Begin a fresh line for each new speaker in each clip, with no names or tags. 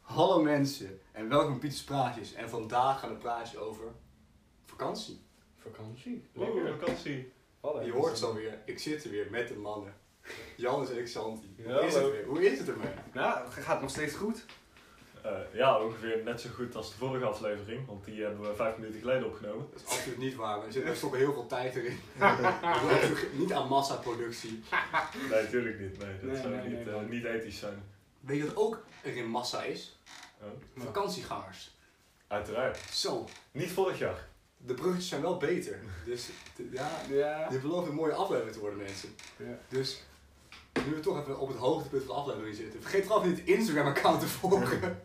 Hallo mensen en welkom bij Pieters Praatjes. En vandaag gaan we praatje over vakantie.
Vakantie.
Lekker.
Oeh, vakantie.
Je hoort het alweer, ik zit er weer met de mannen. Jannes en Xanti. Hoe
Ja,
is het
hallo.
weer? Hoe is het ermee?
Nou, gaat nog steeds goed.
Eh, ja, ongeveer net zo goed als de vorige aflevering, want die hebben we vijf minuten geleden opgenomen.
Dat is absoluut niet waar, maar er zit echt nog heel veel tijd erin. We doen niet aan massaproductie.
Nee, natuurlijk niet. Nee, dat
Nee,
zou
nee,
niet,
nee,
eh,
man.
niet ethisch zijn.
Weet je wat ook er in massa is?
Oh.
Vakantiegaars.
Uiteraard.
Zo,
Niet vorig jaar.
de bruggetjes zijn wel beter. Dus t- ja,
Ja.
dit belooft een mooie aflevering te worden mensen.
Ja.
Dus nu we toch even op het hoogtepunt van de aflevering zitten. Vergeet vooral niet het Instagram account te volgen.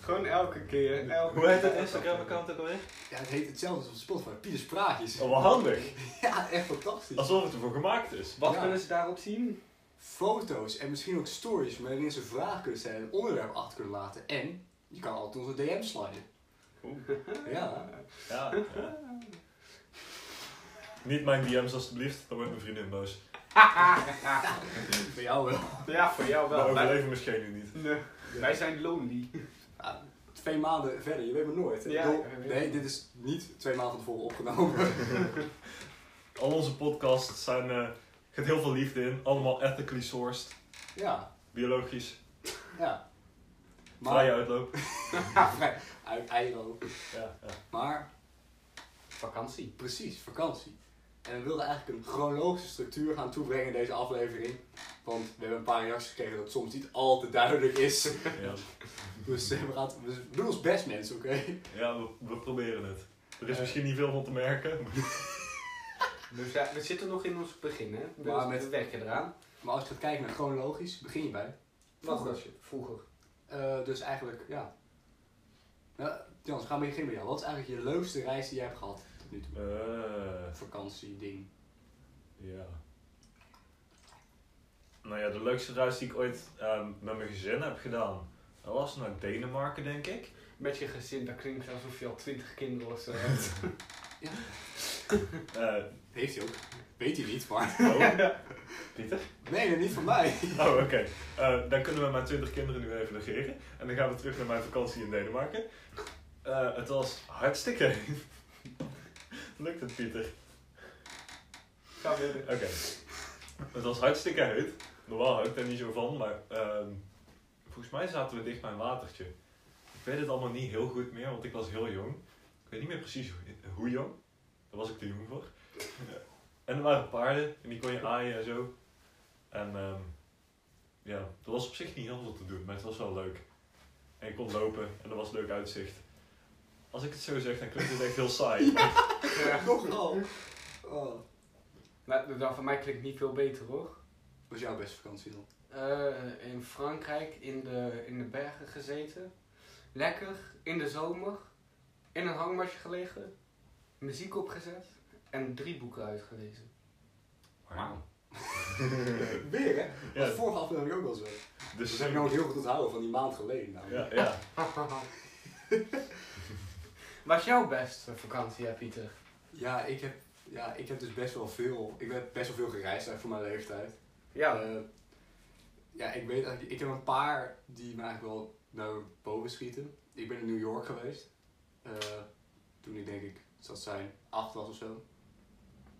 Gewoon elke keer. Elke
Hoe heet
keer.
dat Instagram-account ook alweer?
Ja, het heet hetzelfde als op Spotify. Pieters Praatjes.
Oh, wel handig.
Ja, echt fantastisch.
Alsof het ervoor gemaakt is.
Wat
Ja.
kunnen ze daarop zien?
Foto's en misschien ook stories waarin ze vragen kunnen stellen en een onderwerp achter kunnen laten. En je kan altijd onze DM sliden. Ja.
Ja. ja. Niet mijn DM's alstublieft, dan wordt mijn vriendin boos.
Voor jou wel.
Ja, voor jou
Maar
Ah, wel. Wij,
overleven misschien nu niet.
Nee. Wij zijn lonely.
Ja, twee maanden verder, je weet maar nooit. hè.
Ja,
Ik bedoel,
ik weet
nee,
het.
dit is niet twee maanden van tevoren opgenomen.
Al onze podcasts zijn, eh gaat heel veel liefde in. Allemaal ethically sourced,
ja,
biologisch,
ja.
vrije uitloop.
vrij uit Eiro.
Ja, ja.
Maar
Vakantie.
precies, vakantie. En we wilden eigenlijk een chronologische structuur gaan toebrengen in deze aflevering. Want we hebben een paar reacties gekregen dat het soms niet al te duidelijk is.
ja.
Dus eh, we, gaan, het- we doen ons best, mensen, oké?
Ja, we, we proberen het. Er is
Eh.
misschien niet veel van te merken. maar-
Dus ja, we zitten nog in ons begin, hè? We,
Maar met-
we werken eraan.
Maar als je gaat kijken naar chronologisch, begin je bij.
Wat
Vroeger.
was je? Vroeger.
Eh, dus eigenlijk, ja. Nou, Jans, we gaan beginnen met jou. Wat is eigenlijk je leukste reis die jij hebt gehad tot nu toe?
Eh,
Vakantie, ding.
ja. Nou ja, de leukste reis die ik ooit ehm, met mijn gezin heb gedaan, dat was naar Denemarken, denk ik.
Met je gezin, dat klinkt alsof je al twintig kinderen of zo hebt.
Eh,
Heeft hij ook. Weet hij niet, maar.
oh. Pieter?
Nee, dat niet van mij.
Oh, oké. Eh, dan kunnen we mijn 20 kinderen nu even negeren. En dan gaan we terug naar mijn vakantie in Denemarken. Eh, het was hartstikke heet. Lukt het, Pieter?
Ga verder.
Oké. Het was hartstikke heet. Normaal hou ik er niet zo van, maar ehm, volgens mij zaten we dicht bij een watertje. Ik weet het allemaal niet heel goed meer, want ik was heel jong. Ik weet niet meer precies hoe, hoe jong. Daar was ik te jong voor. En er waren paarden en die kon je aaien en zo. En ehm, ja, er was op zich niet heel veel te doen, maar het was wel leuk. En ik kon lopen en er was leuk uitzicht. Als ik het zo zeg, dan klinkt het echt heel saai.
Ja.
Nogal. Oh.
Nou, dat van mij klinkt niet veel beter hoor.
Wat is jouw beste vakantie dan?
Eh, in Frankrijk in de, in de bergen gezeten. Lekker, in de zomer. In een hangmatje gelegen. Muziek opgezet. En drie boeken uitgelezen.
Wauw.
Weer, hè? Dat was
Ja,
vorige aflevering ook wel zo. Dus we
dus,
zijn nou ook heel goed onthouden van die maand geleden. nou. namelijk.
ja, ja.
Wat is jouw beste vakantie, hè, Pieter?
Ja, ik heb, ja, ik heb dus best wel veel. Ik ben best wel veel gereisd eigenlijk voor mijn leeftijd.
Ja,
Eh, ja, ik weet eigenlijk, ik heb een paar die me eigenlijk wel naar boven schieten. Ik ben in New York geweest. Eh, toen ik denk ik, dat zijn acht was of zo.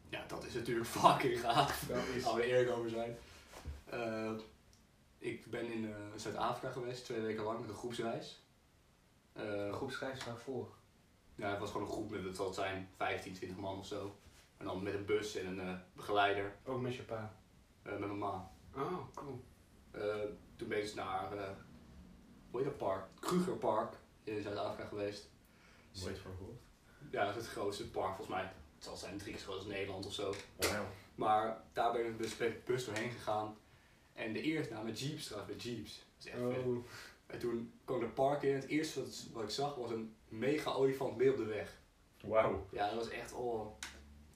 Ja, dat is natuurlijk fucking gaaf.
dat is.
Daar we eerlijk over zijn. Eh, ik ben in eh, Zuid-Afrika geweest, twee weken lang, met een groepsreis. Eh,
Een groepsreis daarvoor.
ja, het was gewoon een groep met, het zal zijn 15, 20 man of zo. En dan met een bus en een eh, begeleider,
Ook met je pa.
eh, met mijn ma.
Oh, cool.
Eh, toen ben ik dus naar, eh hoe heet dat park? Krugerpark in Zuid-Afrika geweest.
Nooit van gehoord.
Ja, dat is het grootste park volgens mij. Het zal zijn drie keer zo groot als Nederland of zo.
Wauw.
Maar daar ben ik dus met de bus doorheen gegaan. En de eerste nou, met jeeps trouwens, met jeeps. Dat is echt vet.
Oh.
En toen kwam ik het park in en het eerste wat, wat ik zag was een mega olifant mee op de weg.
Wauw.
Ja, dat was echt, oh...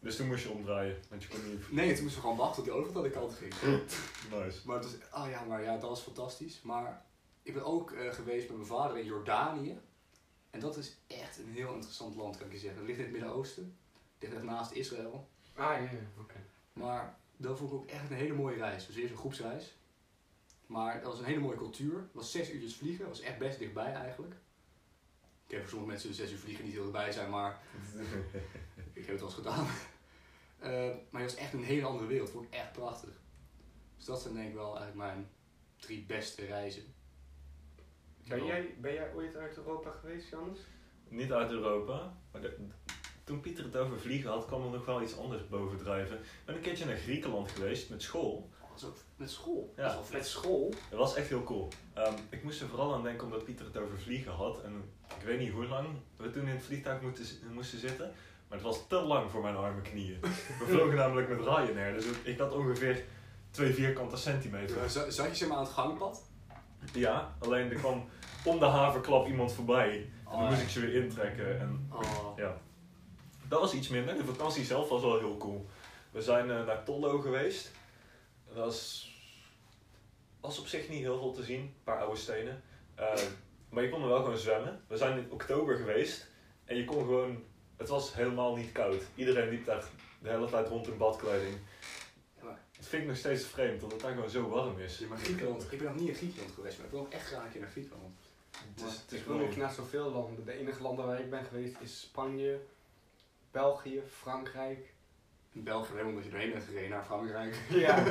Dus toen moest je omdraaien, want je kon niet.
Nee, toen moesten we gewoon wachten tot die olifant aan de kant ging.
Nice.
Maar het was, oh ja, maar ja, dat was fantastisch. Maar ik ben ook eh, geweest met mijn vader in Jordanië. En dat is echt een heel interessant land, kan ik je zeggen. Het ligt in het Midden-Oosten. Het ligt echt naast Israël.
Ah, ja, ja, oké.
Maar dat vond ik ook echt een hele mooie reis. Dus eerst een groepsreis. Maar dat was een hele mooie cultuur. Het was zes uurtjes vliegen. was echt best dichtbij eigenlijk. Ik heb voor sommige mensen de zes uur vliegen niet heel dichtbij zijn, maar ik heb het wel eens gedaan. Eh, maar het was echt een hele andere wereld. Vond ik echt prachtig. Dus dat zijn denk ik wel eigenlijk mijn drie beste reizen.
Ben jij, ben jij ooit uit Europa geweest, Jannes?
Niet uit Europa. Maar de- toen Pieter het over vliegen had, kwam er nog wel iets anders bovendrijven. Ik ben een keertje naar Griekenland geweest met school.
Oh, dat is ook met school.
Ja.
Dat is wel vet.
Met school?
Dat was echt heel cool. Ehm, ik moest er vooral aan denken omdat Pieter het over vliegen had. En ik weet niet hoe lang we toen in het vliegtuig moeten, zi- moesten zitten. Maar het was te lang voor mijn arme knieën. We vlogen namelijk met Ryanair. Dus ik had ongeveer twee vierkante centimeter.
Eh, za- Zat je zeg maar aan het gangpad?
Ja, alleen er kwam om de haverklap iemand voorbij. En dan
Oh,
moest
ja.
ik ze weer intrekken. En
Oh.
ja, dat was iets minder. De vakantie zelf was wel heel cool. We zijn eh, naar Tollo geweest. Dat was, was op zich niet heel veel te zien. Een paar oude stenen. Eh, maar je kon er wel gewoon zwemmen. We zijn in oktober geweest. En je kon gewoon... Het was helemaal niet koud. Iedereen liep daar de hele tijd rond in badkleding.
Ja, maar-
Het vind ik nog steeds vreemd, dat het daar gewoon zo warm is.
Ja, maar Griekenland. Ik ben nog niet in Griekenland geweest, maar ik wil ook echt graag een keer naar Griekenland.
Het is, het is
ik wil nog
mooi.
naar zoveel landen. De enige landen waar ik ben geweest is Spanje, België, Frankrijk.
In België, helemaal omdat je erheen bent gereden naar Frankrijk.
Ja,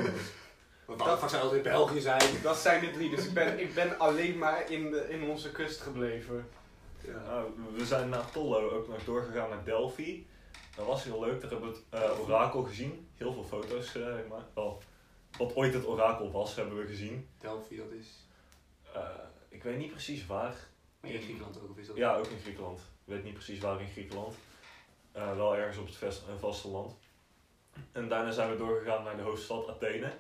Want dat zou altijd in België zijn.
dat zijn de drie. Dus ik ben, ik ben alleen maar in, de, in onze kust gebleven.
Ja.
Nou, we zijn naar Tollo ook nog doorgegaan naar Delphi. Dat was heel leuk, daar hebben we het eh, orakel gezien. Heel veel foto's eh, gemaakt. Wel, wat ooit het orakel was, hebben we gezien.
Delphi, dat is.
Eh, ik weet niet precies waar.
Maar in Griekenland ook, of is dat?
Ja, ook in Griekenland. Ik weet niet precies waar in Griekenland. Eh, wel ergens op het vest- eh, vasteland. En daarna zijn we doorgegaan naar de hoofdstad Athene.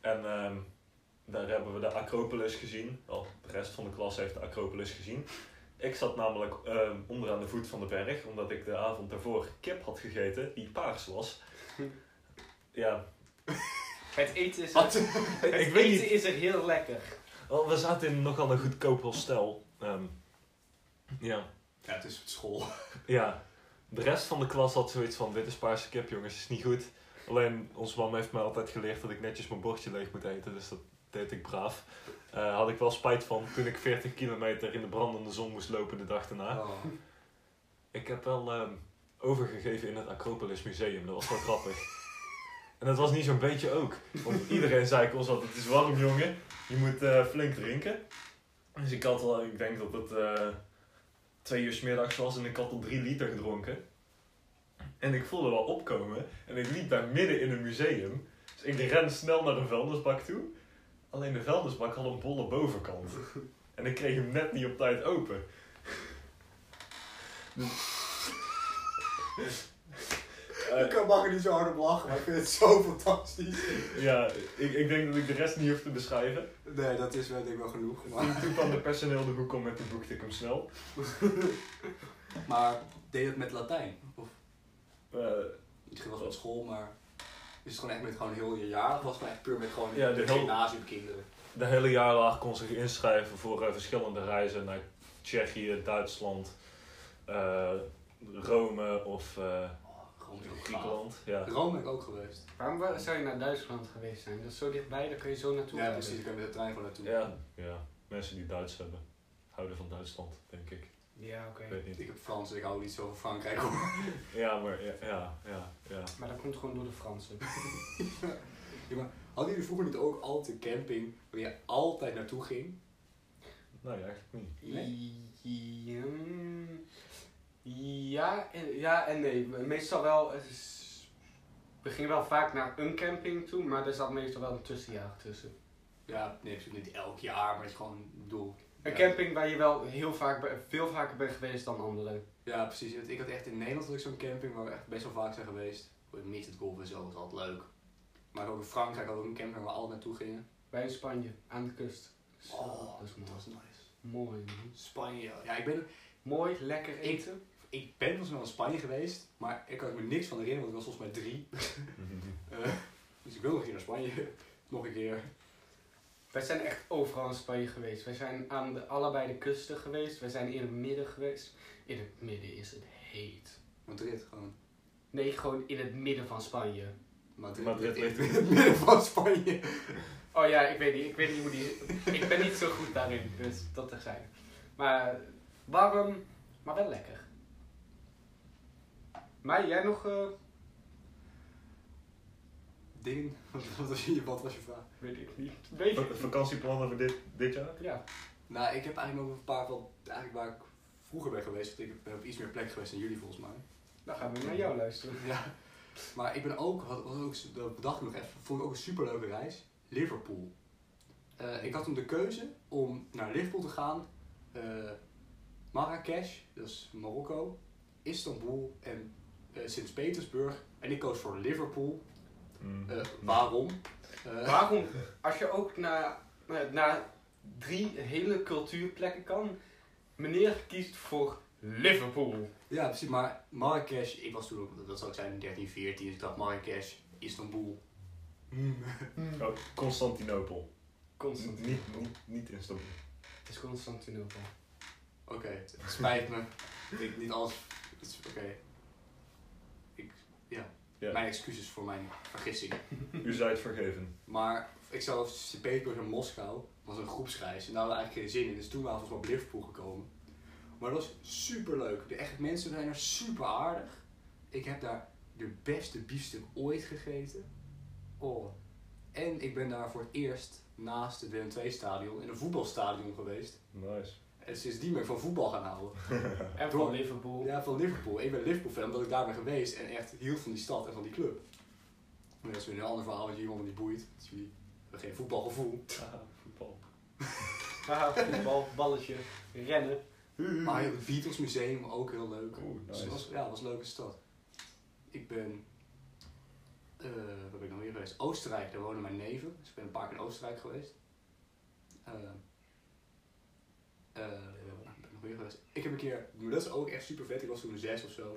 En ehm, daar hebben we de Acropolis gezien. Wel, de rest van de klas heeft de Acropolis gezien. Ik zat namelijk ehm, onderaan de voet van de berg, omdat ik de avond daarvoor kip had gegeten die paars was. Ja,
Het eten is,
Wat?
Het
ik
eten
weet niet.
is er heel lekker.
Wel, we zaten in nogal een goedkoop hostel. Ehm, ja,
Ja, het is school.
Ja, de rest van de klas had zoiets van: dit is paarse kip, jongens, is niet goed. Alleen ons mam heeft mij altijd geleerd dat ik netjes mijn bordje leeg moet eten, dus dat deed ik braaf. Eh, had ik wel spijt van toen ik 40 kilometer in de brandende zon moest lopen de dag daarna.
Oh.
Ik heb wel ehm, overgegeven in het Acropolis Museum, dat was wel grappig. En dat was niet zo'n beetje ook. Want iedereen zei ik ons altijd, het is warm jongen, je moet eh, flink drinken. Dus ik had al, ik denk dat het eh, twee uur 's middags was en ik had al drie liter gedronken. En ik voelde wel opkomen en ik liep daar midden in een museum. Dus ik ren snel naar een vuilnisbak toe. Alleen de vuilnisbak had een bolle bovenkant. En ik kreeg hem net niet op tijd open. Eh,
Ik kan- mag er niet zo hard op lachen, maar ik vind het zo fantastisch.
Ja, ik, ik denk dat ik de rest niet hoef te beschrijven.
Nee, dat is wel, denk ik wel genoeg. Maar,
Toen, toen kwam de personeel de hoek om met de boek, ik hem snel.
maar deed je het met Latijn? Of
Eh,
misschien was het met school, maar is het gewoon echt met gewoon heel je jaar? Of was het gewoon echt puur met gewoon
Ja, de heel-
gymnasiumkinderen?
de hele jaarlaag kon zich inschrijven voor eh, verschillende reizen naar Tsjechië, Duitsland, eh, Rome of eh,
Oh, gewoon heel gaaf.
Griekenland. Ja.
Rome ben ik ook geweest.
Waarom wa- zou je naar Duitsland geweest zijn? Dat is zo dichtbij, daar kun je zo naartoe.
Ja,
rijden.
precies. Ik ben met de trein van naartoe.
Ja. ja, mensen die Duits hebben, houden van Duitsland, denk ik.
Ja, oké.
Ik weet niet.
Ik heb Frans, ik hou niet zo van Frankrijk hoor.
Ja, maar ja, ja, ja. ja.
Maar dat komt gewoon door de Fransen.
Hadden jullie vroeger niet ook altijd een camping waar je altijd naartoe ging?
Nee, Nou eigenlijk niet.
I- mm, Ja en, ja en nee. Meestal wel. het is- We gingen wel vaak naar een camping toe, maar daar zat meestal wel een tussenjaar tussen.
Ja, nee, natuurlijk niet elk jaar, maar het is gewoon een doel. Ja.
Een camping waar je wel heel vaak, bij- veel vaker bent geweest dan anderen.
Ja, precies. Want Ik had echt in Nederland had ik zo'n camping waar we echt best wel vaak zijn geweest. Ik mist het golf en zo, dat is altijd leuk. Maar ook in Frankrijk hadden we ook een camping waar we altijd naartoe gingen.
Wij in Spanje, aan de kust. Zo,
Oh,
dat is
dat
mooi.
was nice.
Mooi, man.
Spanje, ja, ik ben,
Mooi, lekker eten.
ik ben volgens mij wel in Spanje geweest, maar ik kan me niks van herinneren, want ik was volgens mij drie. Eh, dus ik wil nog een keer naar Spanje. Nog een keer.
Wij zijn echt overal in Spanje geweest. Wij zijn aan de, allebei de kusten geweest. Wij zijn in het midden geweest. In het midden is het heet.
Madrid gewoon.
Nee, gewoon in het midden van Spanje.
Madrid,
Madrid ligt
in het midden van Spanje.
Oh ja, ik weet niet. Ik weet niet hoe die. ik ben niet zo goed daarin, dus dat er zijn. Maar warm, maar wel lekker. Maar jij nog. eh,
Dingen? Wat was je, wat was je vraag?
weet ik niet. Weet
V-
ik niet.
Vakantieplannen voor dit, dit jaar?
Ja.
Nou, ik heb eigenlijk nog een paar van eigenlijk waar ik vroeger ben geweest. Want ik ben op iets meer plek geweest dan jullie volgens mij.
Dan gaan we naar jou luisteren.
Ja. Maar ik ben ook, had, was ook, dat bedacht ik nog even, vond ik ook een superleuke reis. Liverpool. Eh, ik had toen de keuze om naar Liverpool te gaan, eh Marrakesh, dat is Marokko, Istanbul en eh, Sint-Petersburg. En ik koos voor Liverpool.
Mm.
Eh, waarom? Eh,
Waarom, als je ook naar, eh, naar drie hele cultuurplekken kan, meneer kiest voor Liverpool.
Ja, precies. Maar Marrakesh, ik was toen ook, dat zou ik zijn, 13, 14. Dus ik dacht Marrakesh, Istanbul.
Oh, Constantinopel.
Constantinopel.
Niet, niet, niet Istanbul.
Het is Constantinopel.
Oké, het spijt me. ik niet alles. het is- Oké. Ik, ja.
Ja.
Mijn excuses voor mijn vergissing.
U zijt vergeven.
Maar ik zou Sint-Petersburg en Moskou was een groepsreis en daar hadden we eigenlijk geen zin in. Dus toen waren we volgens mij op Liverpool gekomen. Maar dat was super leuk. De echt mensen zijn er super aardig. Ik heb daar de beste biefstuk ooit gegeten. Oh. En ik ben daar voor het eerst naast het Willem II stadion in een voetbalstadion geweest.
Nice.
En sindsdien ben ik van voetbal gaan houden.
En
Door-
van Liverpool.
Ja, van Liverpool. Ik ben Liverpool-fan omdat ik daar ben geweest en echt hield van die stad en van die club. Maar dat is weer een ander verhaal, want jullie allemaal niet boeit. Dus jullie hebben geen voetbalgevoel.
Haha, voetbal.
Haha, voetbal, balletje, rennen.
Maar het Beatles Museum ook heel leuk.
Oeh,
Dus het was,
Mm. nice.
ja, het was een leuke stad. Ik ben... eh waar ben ik nog meer geweest? Oostenrijk, daar wonen mijn neven. Dus ik ben een paar keer in Oostenrijk geweest. Eh, eh, waar ben ik nog meer geweest? Ik heb een keer, maar dat is ook echt super vet, ik was toen zes of zo.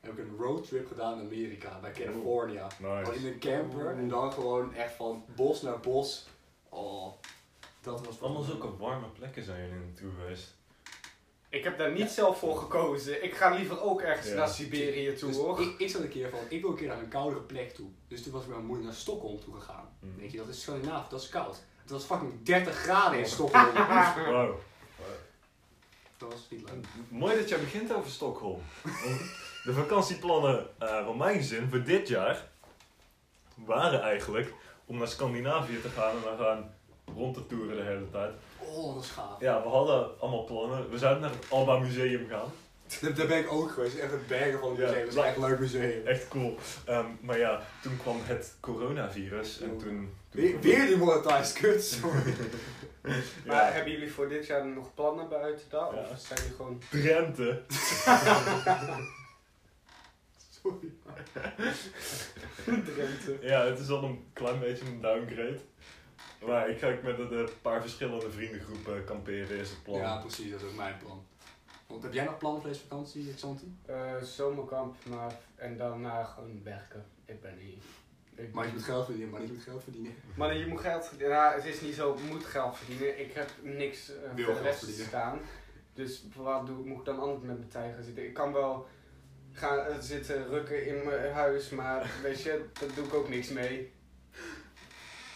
Heb ik een roadtrip gedaan in Amerika, bij California. Al in
Nice.
een camper en dan gewoon echt van bos naar bos. Oh, dat was
Allemaal zulke warme plekken zijn jullie naartoe geweest.
Ik heb daar niet zelf voor gekozen. Ik ga liever ook ergens
Ja.
naar Siberië toe
Dus
hoor.
ik, ik zat een keer van, ik wil een keer naar een koudere plek toe. Dus toen was ik met mijn moeder naar Stockholm toe gegaan.
Hm.
Dan Denk je, dat is Scandinavië, dat is koud. Het was fucking 30 graden in Stockholm.
Wow.
dat was niet leuk.
Mooi dat jij begint over Stockholm. Want De vakantieplannen eh, van mijn gezin voor dit jaar waren eigenlijk om naar Scandinavië te gaan en dan gaan rond te toeren de hele tijd.
Oh, dat is gaaf.
Ja, we hadden allemaal plannen. We zouden naar het Alba Museum gaan.
Daar, daar ben ik ook geweest. Echt een bergen van het
Ja,
museum. Dat is echt een leuk museum.
Echt cool. Ehm, maar ja, toen kwam het coronavirus en toen... toen
Weer, weer die monetized kut, sorry.
Ja.
Maar hebben jullie voor dit jaar nog plannen buiten daar?
Ja.
Of zijn jullie gewoon...
Drenthe.
sorry.
Drenthe.
Ja, het is al een klein beetje een downgrade. Maar ik ga ook met een eh, paar verschillende vriendengroepen kamperen is het plan.
Ja, precies. Dat is ook mijn plan. Want heb jij nog plannen voor deze vakantie, Xanti?
Eh, zomerkamp maar, en daarna gewoon werken. Ik ben hier. Ik
Maar je moet geld verdienen, maar niet moet geld verdienen.
Maar je moet geld verdienen. Nou, het is niet zo, je moet geld verdienen. Ik heb niks eh,
Wil
voor de
geld
rest
verdienen.
staan. Dus wat doe, moet ik dan anders met mijn tijd gaan zitten? Ik kan wel gaan eh, zitten rukken in mijn huis, maar weet je, daar doe ik ook niks mee.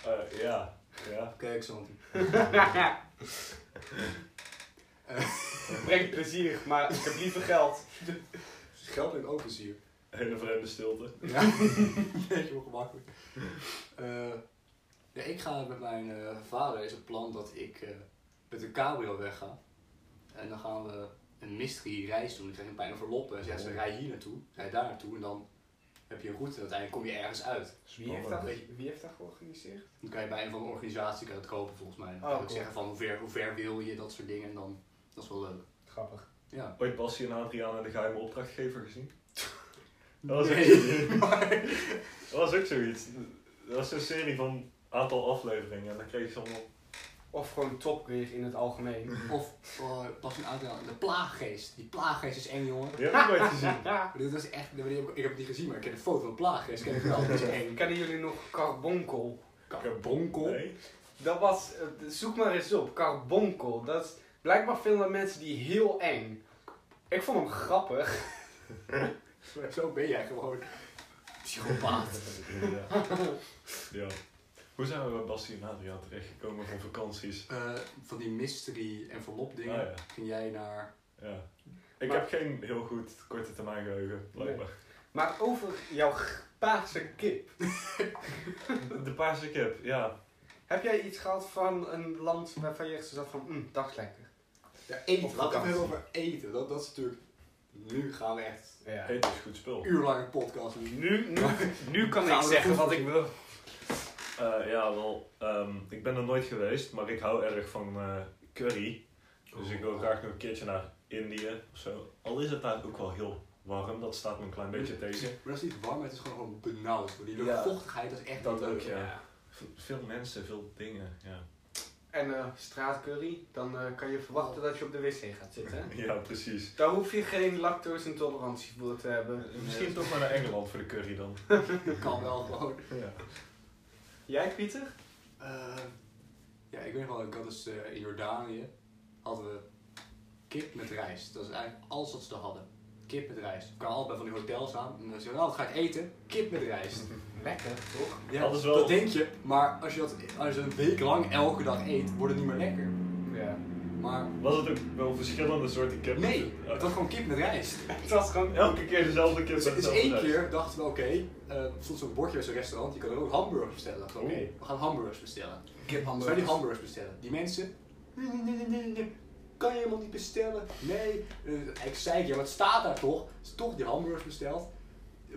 Eh, ja. ja.
Oké, Xanti. Eh,
Brengt plezier, maar ik heb liever geld.
Geld brengt ook plezier.
Hele vreemde stilte.
Ja, beetje ongemakkelijk. Eh, ja, ik ga met mijn eh, vader is het plan dat ik eh, met een cabrio wegga. En dan gaan we een mystery reis doen. Ik krijg een bijna verloppen. En zeggen ze, rij hier naartoe, rij daar naartoe. En dan heb je een route en uiteindelijk kom je ergens uit.
Wie heeft dat,
Spannend.
wie heeft dat georganiseerd?
Dan kan je bij een van de organisatie kan je het kopen volgens mij. Dan kan
Oh,
je ook
cool.
zeggen van hoe ver, hoe ver wil je, dat soort dingen. En dan, dat is wel leuk.
Grappig.
Ja.
Ooit Bassie en Adriana de geheime opdrachtgever gezien? Dat was, ook
Nee,
zoiets.
maar-
dat was ook zoiets. Dat was een serie van een aantal afleveringen en dan kreeg ze allemaal...
Of gewoon topgear in het algemeen.
Of oh, pas een aantal, de plaaggeest. Die plaaggeest is eng jongen.
Die heb ik nooit gezien.
Ja.
Dit was echt, ik heb, ik heb het niet gezien, maar ik ken een foto van Plaaggeest. Ken ik wel. Dat is eng.
Kennen jullie nog Carbonkel?
Carbonkel.
Nee?
Dat was, eh, zoek maar eens op, Carbonkel. Dat is, blijkbaar vinden mensen die heel eng. Ik vond hem grappig.
Zo ben jij gewoon. Psychopaat.
ja. ja. Hoe zijn we bij Basti en Adriaan terechtgekomen van vakanties?
Eh, van die mystery en verlop dingen
Ah, ja.
ging jij naar...
Ja. Ik
Maar-
heb geen heel goed korte termijn geheugen, blijkbaar.
Maar over jouw g- paarse kip.
De paarse kip, ja.
Heb jij iets gehad van een land waarvan je echt zo zat van, mm, dat is lekker.
Ja, eten. Laten we het
Op vakantie.
hebben over eten. Dat, dat is natuurlijk... Nu gaan we echt
Ja.
Eet is goed spul.
een uur lang een podcast doen.
Eh, Nu, nu, nu kan
Gaan
ik
we
zeggen
goed
wat ik wil.
Eh, ja, wel. ehm, ik ben er nooit geweest, maar ik hou erg van eh, curry. Dus ik wil graag nog een keertje naar Indië of zo. Al is het daar ook wel heel warm, dat staat me een klein beetje tegen.
Maar dat is niet warm, het is gewoon, gewoon benauwd. Want die
Ja.
luchtvochtigheid is echt
Dat
niet
ook,
leuk.
ja. Ve- Veel mensen, veel dingen, ja.
En eh straatcurry, dan eh, kan je verwachten dat je op de wc gaat zitten. hè?
Ja, precies.
Daar hoef je geen lactose-intolerantie voor te hebben.
Eh, Misschien toch maar naar Engeland voor de curry dan.
Kan wel gewoon.
Ja.
Jij, Pieter?
Eh, ja, ik weet nog wel, ik had dus eh, in Jordanië hadden we kip met rijst. Dat is eigenlijk alles wat ze er hadden. Kip met rijst. Ik kwam altijd bij van die hotels aan en dan zei je, nou, wat ga ik eten? Kip met rijst.
Lekker, toch?
Ja,
Dat
dat,
is wel-
denk je, maar als je dat als je dat een week lang elke dag eet, wordt het niet meer lekker.
Ja.
Maar
Was het ook wel verschillende soorten kip?
nee,
Eh,
het was gewoon kip met rijst.
Het was gewoon
Elke keer dezelfde kip.
Dus,
met
dus
hetzelfde
één
rijst.
keer dachten we, oké, eh, stond zo'n bordje bij zo'n restaurant, je kan er ook hamburgers bestellen. Ik dacht, Oké,
Oeh.
we gaan hamburgers bestellen. Dus wij
kiphamburger.
die hamburgers bestellen. Die mensen, nee, nee, nee, nee, nee, nee, kan je helemaal niet bestellen. Nee, Eh, ik zei, ja, wat staat daar toch? Is toch die hamburgers besteld.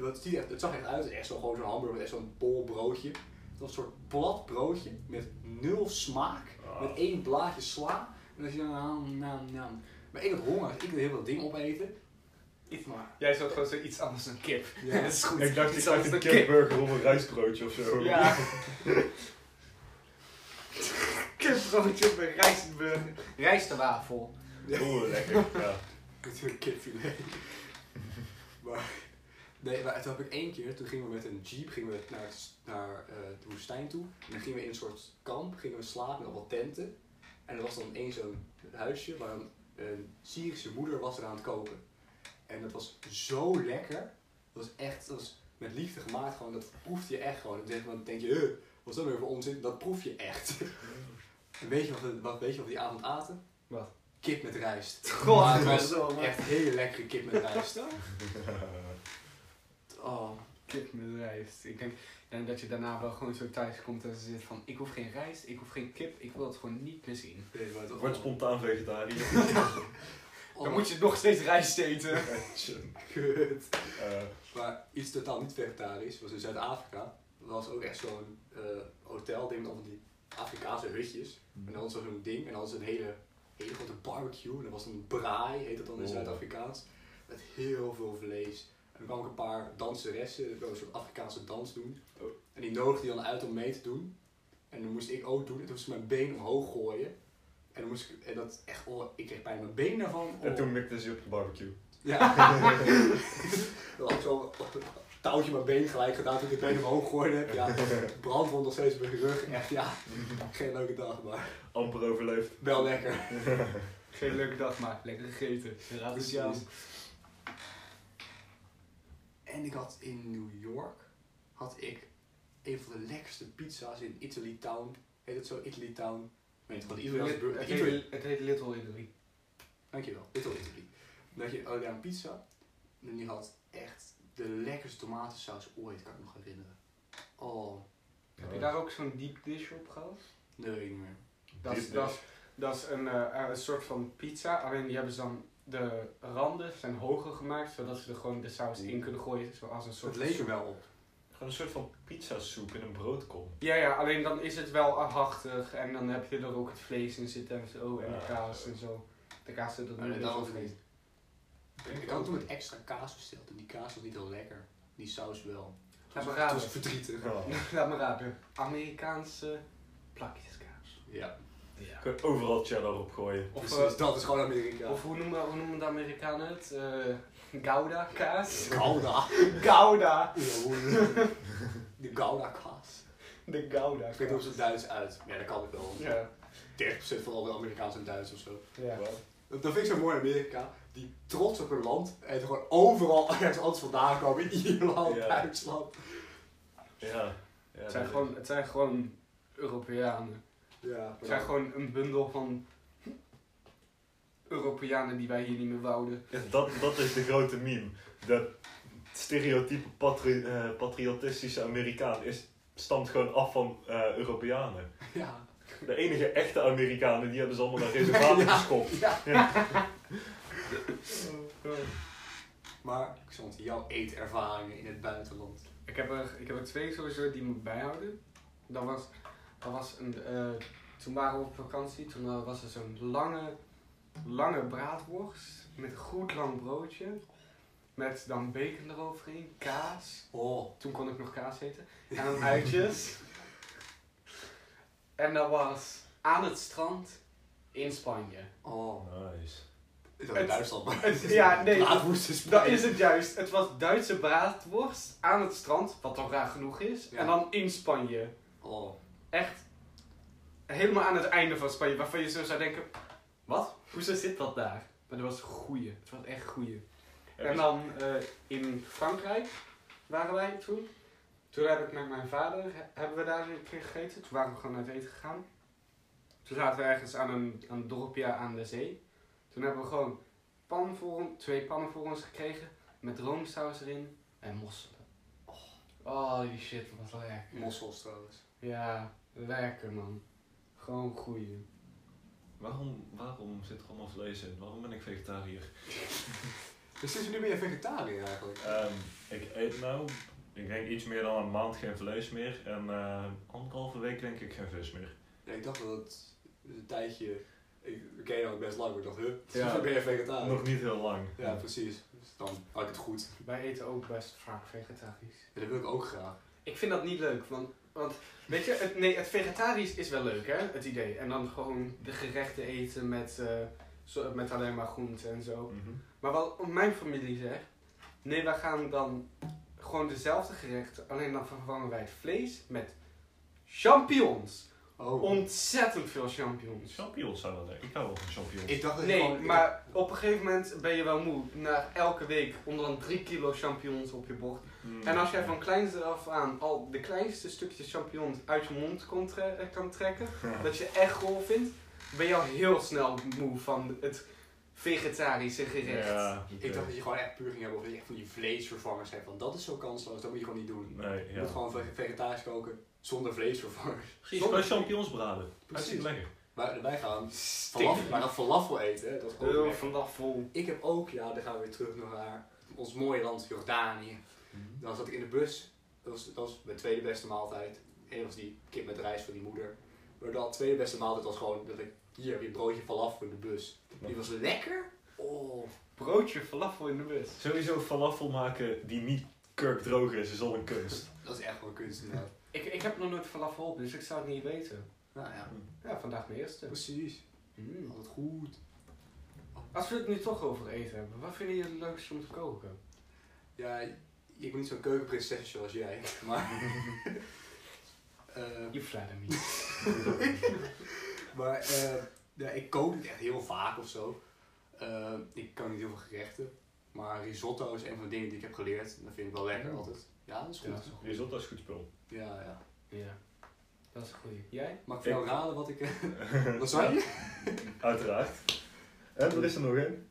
Het, ziet echt, het zag echt uit, het is echt zo, gewoon zo'n hamburger, met echt zo'n bol broodje. Het was een soort plat broodje met nul smaak,
Ah.
met één blaadje sla. En dan zie je dan, nou, nou, nou. Maar ik had honger, dus ik wilde heel veel dingen opeten. Iets maar.
Jij zat gewoon zoiets anders dan kip.
Ja.
dat is goed.
Ik dacht, ik
Iets
dacht
anders
een
dan kip.
kipburger of een rijstbroodje of zo.
Ja. Kipbroodje met rijstburger. Rijstwafel.
Oeh, lekker. Ja.
Het is een kipfilet. maar, nee, maar toen heb ik één keer, toen gingen we met een jeep gingen we naar, naar eh, de woestijn toe. En dan gingen we in een soort kamp, gingen we slapen op wat tenten. En er was dan één zo'n huisje waar een, een Syrische moeder was er aan het koken. En dat was zo lekker. Dat was echt, dat was met liefde gemaakt gewoon, dat proefde je echt gewoon. En dan denk je, eh, wat is dat nou weer voor onzin? Dat proef je echt. en weet je wat, we- wat, weet je wat we die avond aten?
Wat?
Kip met rijst.
God,
Maar het
dat
was
is wel, man.
echt hele lekkere kip met rijst. Oh,
Kip met rijst. Ik denk, ik denk dat je daarna wel gewoon zo thuis komt en ze zit van ik hoef geen rijst, ik hoef geen kip, ik wil het gewoon niet meer zien.
nee, maar dat
Word spontaan vegetariër.
Oh,
Dan moet je nog steeds rijst eten.
kut.
Eh,
Maar iets totaal niet vegetarisch was in Zuid-Afrika. Dat was ook echt zo'n eh hotel, ding met al die Afrikaanse hutjes. En dan was er zo'n ding en dan was er een hele, hele grote barbecue. En dat was een braai, heet dat dan in
Oh.
Zuid-Afrikaans. Met heel veel vlees. En er kwamen ook een paar danseressen, die wilden een soort Afrikaanse dans doen.
Oh.
En die nodigde die dan uit om mee te doen. En dan moest ik ook doen. En toen moest ik mijn been omhoog gooien. En dan moest ik, en dat echt, oh, ik kreeg bijna mijn been daarvan.
en
Oh.
toen mikte ze op de barbecue.
Ja. Dan had ik zo op een touwtje mijn been gelijk gedaan toen ik het been omhoog gooide. Ja, brandwond nog steeds op mijn rug. Echt, ja, geen leuke dag, maar
Amper overleefd.
wel lekker.
Geen leuke dag, maar lekker gegeten. Dus Raad het jou.
En ik had in New York, had ik een van de lekkerste pizza's in Italy Town. Heet het zo? Italy Town? Ik weet het van de Italiaanse burger.
Het heet, het heet Little Italy.
Dankjewel, Little Italy. Dat je ook daar een pizza. En die had echt de lekkerste tomatensaus ooit, kan ik me nog herinneren. Oh,
Heb je daar ook zo'n deep dish op gehad?
nee, weet ik niet meer.
Dat is,
Deep
dat is, dat is een, eh, een soort van pizza, alleen die hebben ze dan de randen zijn hoger gemaakt, zodat ze er gewoon de saus in kunnen gooien, zoals een soort
Het leek er wel op.
Gewoon een soort van pizzasoep in een broodkom.
Ja, ja, alleen dan is het wel hachtig en dan heb je er ook het vlees in zitten en zo en de
Ja.
kaas en zo. De kaas zit er
Maar
nu
dat
dus
was
ook
niet.
in.
Ik had toen met extra kaas besteld en die kaas was niet heel lekker. Die saus wel.
Laat me
Het
raden.
was verdrietig.
Ja.
Laat me raden. Amerikaanse plakjeskaas.
Ja,
Ja.
Gewoon overal cheddar op gooien.
Of,
precies. dat is gewoon Amerika.
eh, of hoe, noemen, hoe noemen de Amerikanen het? Eh, Gouda kaas?
Gouda.
Gouda!
De Gouda kaas.
De Gouda
Ik weet niet of
kaas.
ze Duits uit. Ja, dat kan ik wel.
Ja,
30% van alle Amerikaanse en Duits of zo.
ja.
Wauw.
Dat dat vind ik zo mooi in Amerika. die trots op hun land en gewoon overal ergens anders vandaan komen. In Ierland,
Ja.
Duitsland.
Ja. ja
Het
dat
zijn
is-
gewoon, het zijn gewoon Europeanen.
Ja,
Het zijn gewoon een bundel van Europeanen die wij hier niet meer wouden.
Ja, dat, dat is de grote meme. De stereotype patri- eh, patriotistische Amerikaan is, stamt gewoon af van eh, Europeanen.
ja.
De enige echte Amerikanen, die hebben ze allemaal naar reservaten geschopt.
Oh,
Maar, Xant, jouw eetervaringen in het buitenland.
Ik heb er, ik heb er twee sowieso die me bijhouden. Dat was, dat was een, eh, toen waren we op vakantie, toen eh, was er zo'n lange, lange braadworst met een goed lang broodje. Met dan bacon eroverheen, kaas.
Oh,
Toen kon ik nog kaas eten. En dan uitjes. en dat was aan het strand in Spanje.
oh.
Nice.
Is dat in
Het-
Duitsland? maar-
het- ja, nee.
Braadworst is
Dat is het juist. Het was Duitse braadworst aan het strand, wat al raar genoeg is.
Ja.
En dan in Spanje.
Oh.
Echt helemaal aan het einde van Spanje, waarvan je zo zou denken: wat? Hoe zit dat daar? Maar dat was goeie. Het was echt goeie. En dan eh, in Frankrijk waren wij toen. Toen heb ik met mijn vader, he- hebben we daar een keer gegeten. Toen waren we gewoon uit eten gegaan. Toen zaten we ergens aan een, aan een dorpje aan de zee. Toen hebben we gewoon pan voor, on- twee pannen voor ons gekregen. Met roomsaus erin en mosselen. Oh, die shit was lekker.
Mossels trouwens.
Ja, lekker man. Gewoon goeie.
Waarom, waarom zit er allemaal vlees in? Waarom ben ik vegetariër?
Dus sinds nu ben je vegetariër eigenlijk?
Eh,
Ehm, ik eet nou, ik denk iets meer dan een maand geen vlees meer. En eh, anderhalve week denk ik geen vis meer.
Ja, ik dacht dat het een tijdje... Ik ik ken je al best lang, maar ik dacht, huh?
Ja.
Ja. ben je vegetariër?
Nog niet heel lang.
Ja, precies. Dus dan had ik het goed.
Wij eten ook best vaak vegetarisch.
Ja, dat wil ik ook graag.
Ik vind dat niet leuk, want, want weet je, het, nee, het vegetarisch is wel leuk hè, het idee. En dan gewoon de gerechten eten met, eh, zo, met alleen maar groenten en zo.
Mhm.
Maar wat mijn familie zegt, nee wij gaan dan gewoon dezelfde gerechten, alleen dan vervangen wij het vlees met champignons.
Oh.
Ontzettend veel champignons.
Champignons zijn wel lekker. Ik hou wel van champignons.
Ik dacht dat je
Nee,
gewoon-
maar op een gegeven moment ben je wel moe. Na elke week onder een 3 kilo champignons op je bord.
Mm.
En als jij van kleins af aan al de kleinste stukjes champignons uit je mond kon tre- eh, kan trekken, dat je echt rol vindt, ben je al heel snel moe van het vegetarische gerecht.
Ja, oké.
Ik dacht dat je gewoon echt puur ging hebben of dat je echt van die vleesvervangers hebt. Want dat is zo kansloos, dat moet je gewoon niet doen.
Nee,
Je
ja.
moet gewoon vege- vegetarisch koken zonder vleesvervangers.
Precies,
Zonder-
gewoon champignons braden. Precies.
Precies.
lekker.
Maar wij gaan
Stik.
falafel, wij gaan falafel eten, hè, dat is gewoon
Heel
lekker.
vanaf vol.
Ik heb ook, ja, dan gaan we weer terug naar ons mooie land Jordanië. Dan zat ik in de bus. Dat was, dat was mijn tweede beste maaltijd. Eén was die kip met rijst van die moeder. Maar de tweede beste maaltijd was gewoon dat ik hier heb je een broodje falafel in de bus. Die was lekker. Oh,
Broodje falafel in de bus.
Sowieso falafel maken die niet kurkdroog is, is al een kunst.
dat is echt wel kunst inderdaad.
Ik, ik heb nog nooit falafel op, dus ik zou het niet weten.
Nou ja,
Ja, vandaag mijn eerste.
precies.
Mm.
Altijd goed.
Als we het nu toch over eten hebben, wat vinden jullie het leukst om te koken?
Ja, ik ben niet zo'n keukenprinsesje zoals jij. Maar, eh,
You flatter me.
maar eh, ja, ik kook niet echt heel vaak of zo. Eh, ik kan niet heel veel gerechten. Maar risotto is een van de dingen die ik heb geleerd. En dat vind ik wel lekker
Mm.
altijd. Ja, dat is goed.
Ja.
dat is goed.
Risotto is goed spul.
Ja, ja.
Ja, dat is een goeie. Jij?
Mag ik voor jou raden wat ik... eh, Wat
Ja.
zei je?
Uiteraard. En er is er nog één.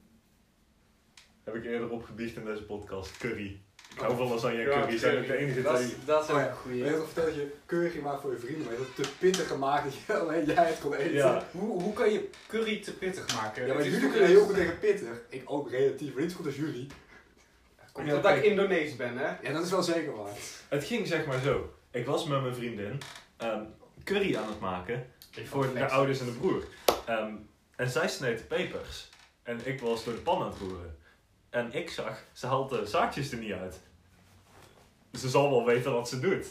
Heb ik eerder opgebiecht in deze podcast. Curry. Ik hou van lasagne en
Ja,
curry. Zijn ook de
curry.
enige
Dat
twee.
is, dat is ook
Oh ja.
een
Je hebt
goeie.
al verteld dat je keurig ging maken voor je vrienden, maar je hebt het te pittig gemaakt dat je alleen jij het kon eten.
Ja.
Hoe, hoe kan je curry te pittig maken?
Ja, maar
Het is
jullie
toch
kunnen heel
juist-
goed tegen pittig. Ik ook relatief, maar niet zo goed als jullie.
Komt
Ja,
omdat
oké.
ik Indonees ben, hè?
Ja, dat is wel zeker waar.
Het ging zeg maar zo. Ik was met mijn vriendin ehm, curry aan het maken. Voor de ouders en de broer. Ehm, en zij sneed de pepers. En ik was door de pan aan het roeren. En ik zag, ze haalt de zaadjes er niet uit. Ze zal wel weten wat ze doet.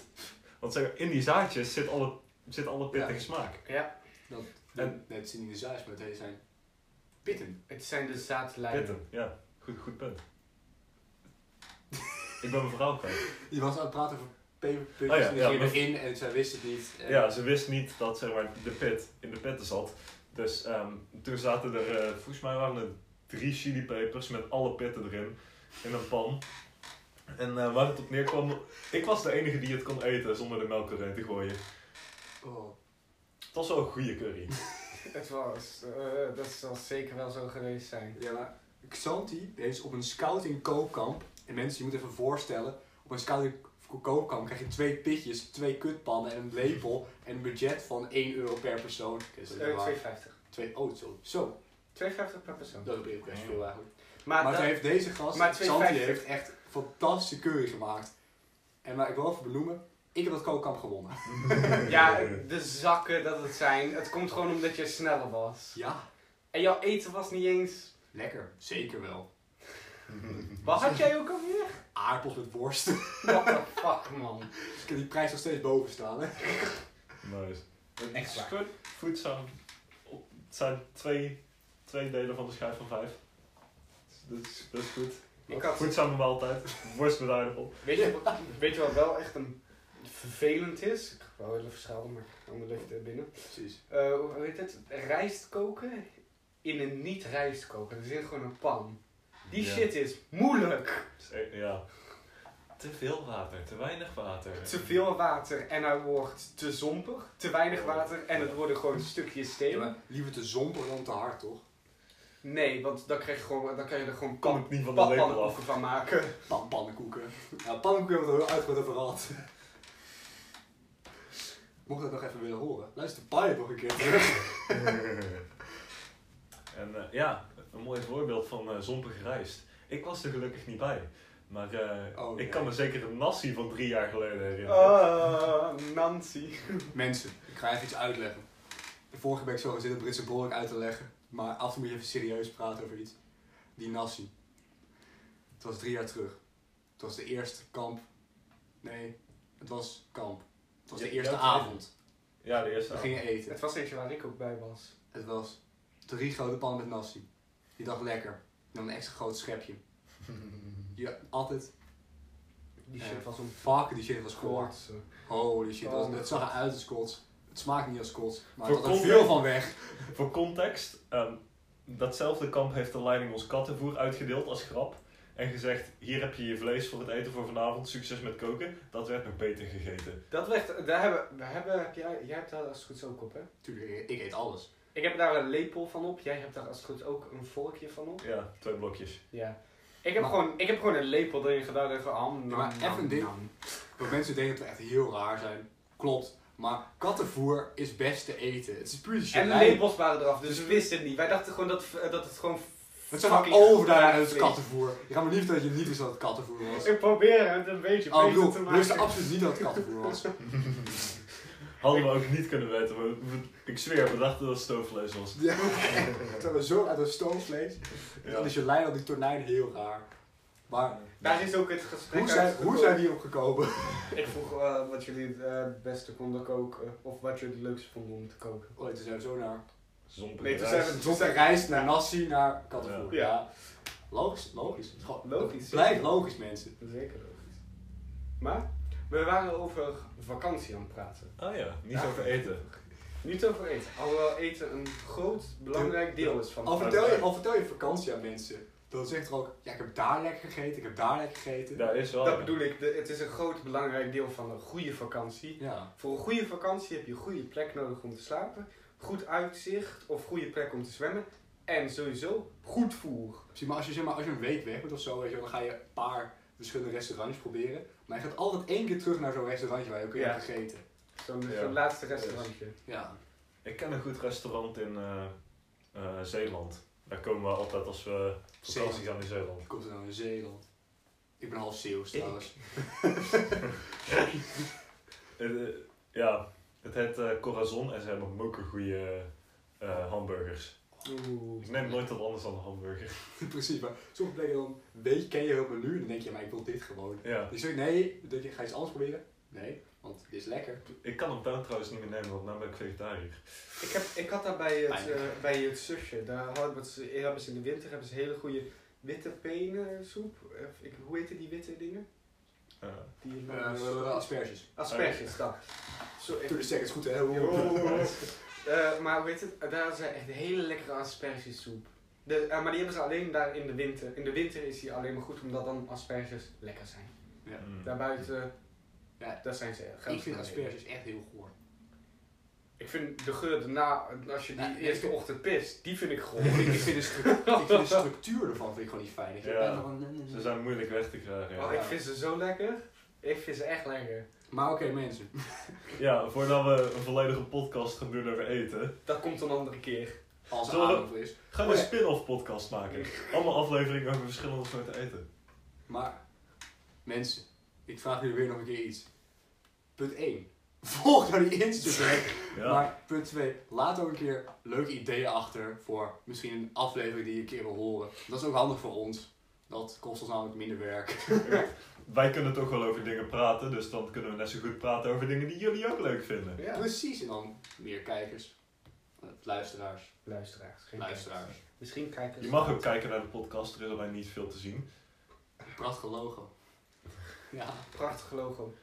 Want zeg maar, in die zaadjes zit alle, zit alle pittige
Ja.
smaak.
Ja,
Dat,
En-
nee, het zijn niet de zaadjes, maar het zijn pitten.
het zijn de zaadlijnen.
Pitten, ja. Goed, goed punt. ik ben mijn verhaal kwijt.
Je was aan het praten over peperpuntjes
Oh ja,
en
ja,
die
maar-
gingen erin en zij wist het niet. En-
Ja, ze wist niet dat zeg maar, de pit in de pitten zat. Dus ehm, toen zaten er, eh volgens mij waren er drie chilipepers met alle pitten erin in een pan. En eh, waar het op neerkwam, ik was de enige die het kon eten zonder de melk erin te gooien.
Oh.
Het was wel een goede curry.
Het was, eh, dat zal zeker wel zo geweest zijn.
Ja, maar Xanti is op een scouting koopkamp. En mensen, je moet even voorstellen, op een scouting koopkamp krijg je twee pitjes, twee kutpannen en een lepel en een budget van 1 euro per persoon. Oké, dat is
Eh,
wel waar.
2,50.
Twee, oh, zo. Zo,
2,50 per persoon.
dat is best veel eigenlijk. Maar
Maar, dat-
toen heeft deze gast,
maar
Xanti,
2,50.
heeft echt fantastische curry gemaakt. En maar ik wil even benoemen, ik heb dat koopkamp gewonnen.
ja, de zakken dat het zijn. Het komt gewoon omdat je sneller was.
Ja,
En jouw eten was niet eens...
lekker. Zeker wel.
Wat had jij ook alweer?
Aardappels met worst.
What the fuck, man.
ik heb die prijs nog steeds boven staan. Hè.
Nice.
Echt waar.
Squid food zijn, op- het zijn twee, twee delen van de schijf van vijf. Dus dat is goed.
Ik had-
Goed samen maaltijd. Worst met aardappel.
Weet je, wat- weet je wat wel echt een vervelend is? Ik wou even verschalen, maar anders ligt het er binnen.
Precies.
Eh, hoe heet het? Rijst koken in een niet-rijst koken. Er zit gewoon een pan. Die
Ja.
shit is moeilijk.
Dus, eh, ja. Te veel water, te weinig water.
Te veel water en hij wordt te zompig. Te weinig water en het worden gewoon stukjes
Ja,
steen.
maar liever te zomper dan te hard, toch?
Nee, want dan, krijg je gewoon, dan kan je er gewoon
Kan
pan,
het niet van de lepel af.
padpannenkoeken van maken.
Pan pannenkoeken. Nou, pannenkoeken hebben we het al uitgebreid over gehad. Mocht je dat nog even willen horen, luister Pai nog een keer terug.
En eh, ja, een mooi voorbeeld van eh zompige rijst. Ik was er gelukkig niet bij. Maar eh,
Oh,
ik
ja.
kan me zeker een nasi van drie jaar geleden herinneren.
Ah, Nancy.
Mensen, ik ga even iets uitleggen. De vorige week zo gezit het Britse behoorlijk uit te leggen, maar af en toe moet je even serieus praten over iets. Die Nassi. Het was drie jaar terug. Het was de eerste kamp. Nee, het was kamp. Het was de
Ja,
eerste
ja,
avond.
Ja, de eerste.
We gingen eten.
Het was eentje waar ik ook bij was.
Het was drie grote pannen met nasi. Die dacht lekker. Dan een extra groot schepje. Ja, altijd
Die shit
Ja.
was om
Fuck, die shit was Scots.
kort.
Holy shit,
Oh
dat-
my
het zag eruit als Scots. Het smaakt niet als Scots, maar
Voor
het had er
context-
veel van weg.
Voor context, ehm, datzelfde kamp heeft de leiding ons kattenvoer uitgedeeld als grap. En gezegd, hier heb je je vlees voor het eten voor vanavond, succes met koken. Dat werd nog beter gegeten.
Dat werd, daar hebben, we hebben heb jij, jij hebt daar als het goed is ook op, hè?
Tuurlijk, ik, ik eet alles.
Ik heb daar een lepel van op, jij hebt daar als het goed is ook een vorkje van op.
Ja, twee blokjes.
Ja. Ik heb,
Maar-
gewoon, ik heb gewoon een lepel erin gedaan en van, ah, nam,
Ja, maar
nam,
even dit.
nam.
Want mensen denken dat we echt heel raar zijn. Klopt, maar kattenvoer is best te eten. Het is puur shit.
En de lepels waren eraf, dus we wisten het niet. Wij dadachten gewoon dat, eh, dat het gewoon
Het zijn maar
fucking
overduidelijk
goed
het kattenvoer. Je gaat me niet vertellen dat je niet wist dat het kattenvoer was.
Ik probeer het een beetje
Oh, ik
beter
bedoel,
te
we
maken.
wisten absoluut niet dat het kattenvoer was.
Hadden we ook niet kunnen weten. we- we- ik zweer, we dachten dat het stoofvlees was.
Ja, het was zo uit een stoomvlees. Dus En Dan is je lijn op die tonijn heel raar. Maar
Daar is ook het gesprek
hoe zijn,
uitgekomen.
hoe zijn die opgekomen?
Ik vroeg eh, wat jullie het eh, beste konden koken, of wat jullie het leukste vonden om te koken.
Oh, toen zijn we zo naar
Zompige
Nee, toen
rijst.
zijn we-
Zonder rijst naar nasi naar kattenvoer.
Ja.
Ja. Logisch, logisch. Het is gewoon-
Logisch,
het
ja.
Blijft logisch, mensen.
Zeker logisch. Maar, we waren over vakantie aan het praten.
Ah ja, niet
Ja.
over eten.
Niet over eten, alhoewel eten een groot, belangrijk deel is van
Al
maar
vertel, je,
blijft-
al vertel je vakantie aan mensen. Dan zegt er ook, ja, ik heb daar lekker gegeten, ik heb daar lekker gegeten. Ja.
Daar is wel.
Dat bedoel ik, de- het is een groot, belangrijk deel van een goede vakantie. Voor een goede vakantie heb je een goede plek nodig om te slapen, goed uitzicht of goede plek om te zwemmen en sowieso goed voer.
Precies, maar als je, zeg maar, als je een week weg bent of zo, weet je, wel, dan ga je een paar verschillende restaurantjes proberen. Maar je gaat altijd één keer terug naar zo'n restaurantje waar je ook in
Ja.
hebt gegeten.
Zo'n
Ja.
zo'n laatste restaurantje.
Ja.
Ik ken een goed restaurant in eh, eh, Zeeland. Daar komen we altijd als we op
Zeeland.
vakantie gaan in Zeeland.
Ik kom nou in Zeeland. Ik ben half Zeeuws
Ik.
trouwens.
Eh, eh, ja, het heet eh, Corazon en ze hebben mokergoeie eh hamburgers.
Oeh.
Ik neem nooit wat anders dan een hamburger.
Precies, maar sommige plekken dan weet, ken je heel menu en dan denk je, maar ik wil dit gewoon.
Ja,
Dus ik nee, dat je, ga je iets anders proberen? Nee, want dit is lekker.
ik kan een pound trouwens niet meer nemen, want nu ben ik vegetariër.
Ik, heb, ik had daar bij het, eh,
Pijnlijk.
bij het zusje, daar hadden we het- hebben ze in de winter hebben ze hele goede witte penensoep. Of Ik, hoe heette die witte dingen?
Eh,
Die
Eh, asperges.
asperges, dat. Zo, ik-
Toen is het goed, hè?
Oh. Eh, maar weet het, daar zijn echt hele lekkere aspergesoep. De, eh, maar die hebben ze alleen daar in de winter. In de winter is die alleen maar goed omdat dan asperges lekker zijn.
Ja.
Mm.
Daarbuiten,
Ja.
daar zijn ze. gaan
Ik
ze
vind
naar
asperges echt heel goor.
eten. Ik vind de geur daarna, als je die
Ja, ik
eerste
vind-
ochtend pist, die vind ik gewoon.
ik, vind de stru- ik vind de structuur ervan vind ik gewoon niet fijn. Ik
Ja.
ben gewoon-
Ze zijn moeilijk weg te krijgen.
Oh,
Ja,
ik vind ze zo lekker. Ik vind ze echt lekker.
Maar oké mensen,
Ja, voordat we een volledige podcast gaan doen over eten,
Dat komt een andere keer.
als er
Zullen we-
aanloop is.
gaan we
Oh
een
ja.
spin-off podcast maken. Allemaal afleveringen over verschillende soorten eten.
Maar mensen, ik vraag jullie weer nog een keer iets. Punt 1. Volg nou die Instagram.
Ja.
Maar punt 2. Laat ook een keer leuke ideeën achter voor misschien een aflevering die je een keer wil horen. Dat is ook handig voor ons. Dat kost ons namelijk minder werk.
Wij kunnen toch wel over dingen praten, dus dan kunnen we net zo goed praten over dingen die jullie ook leuk vinden.
Ja.
Precies, en dan meer kijkers. Eh, Luisteraars.
Luisteraars. geen
Luisteraars.
kijkers. Misschien kijkers.
Je mag ook kijken naar de podcast, er is alleen niet veel te zien.
Prachtig logo. Ja.
Prachtig logo.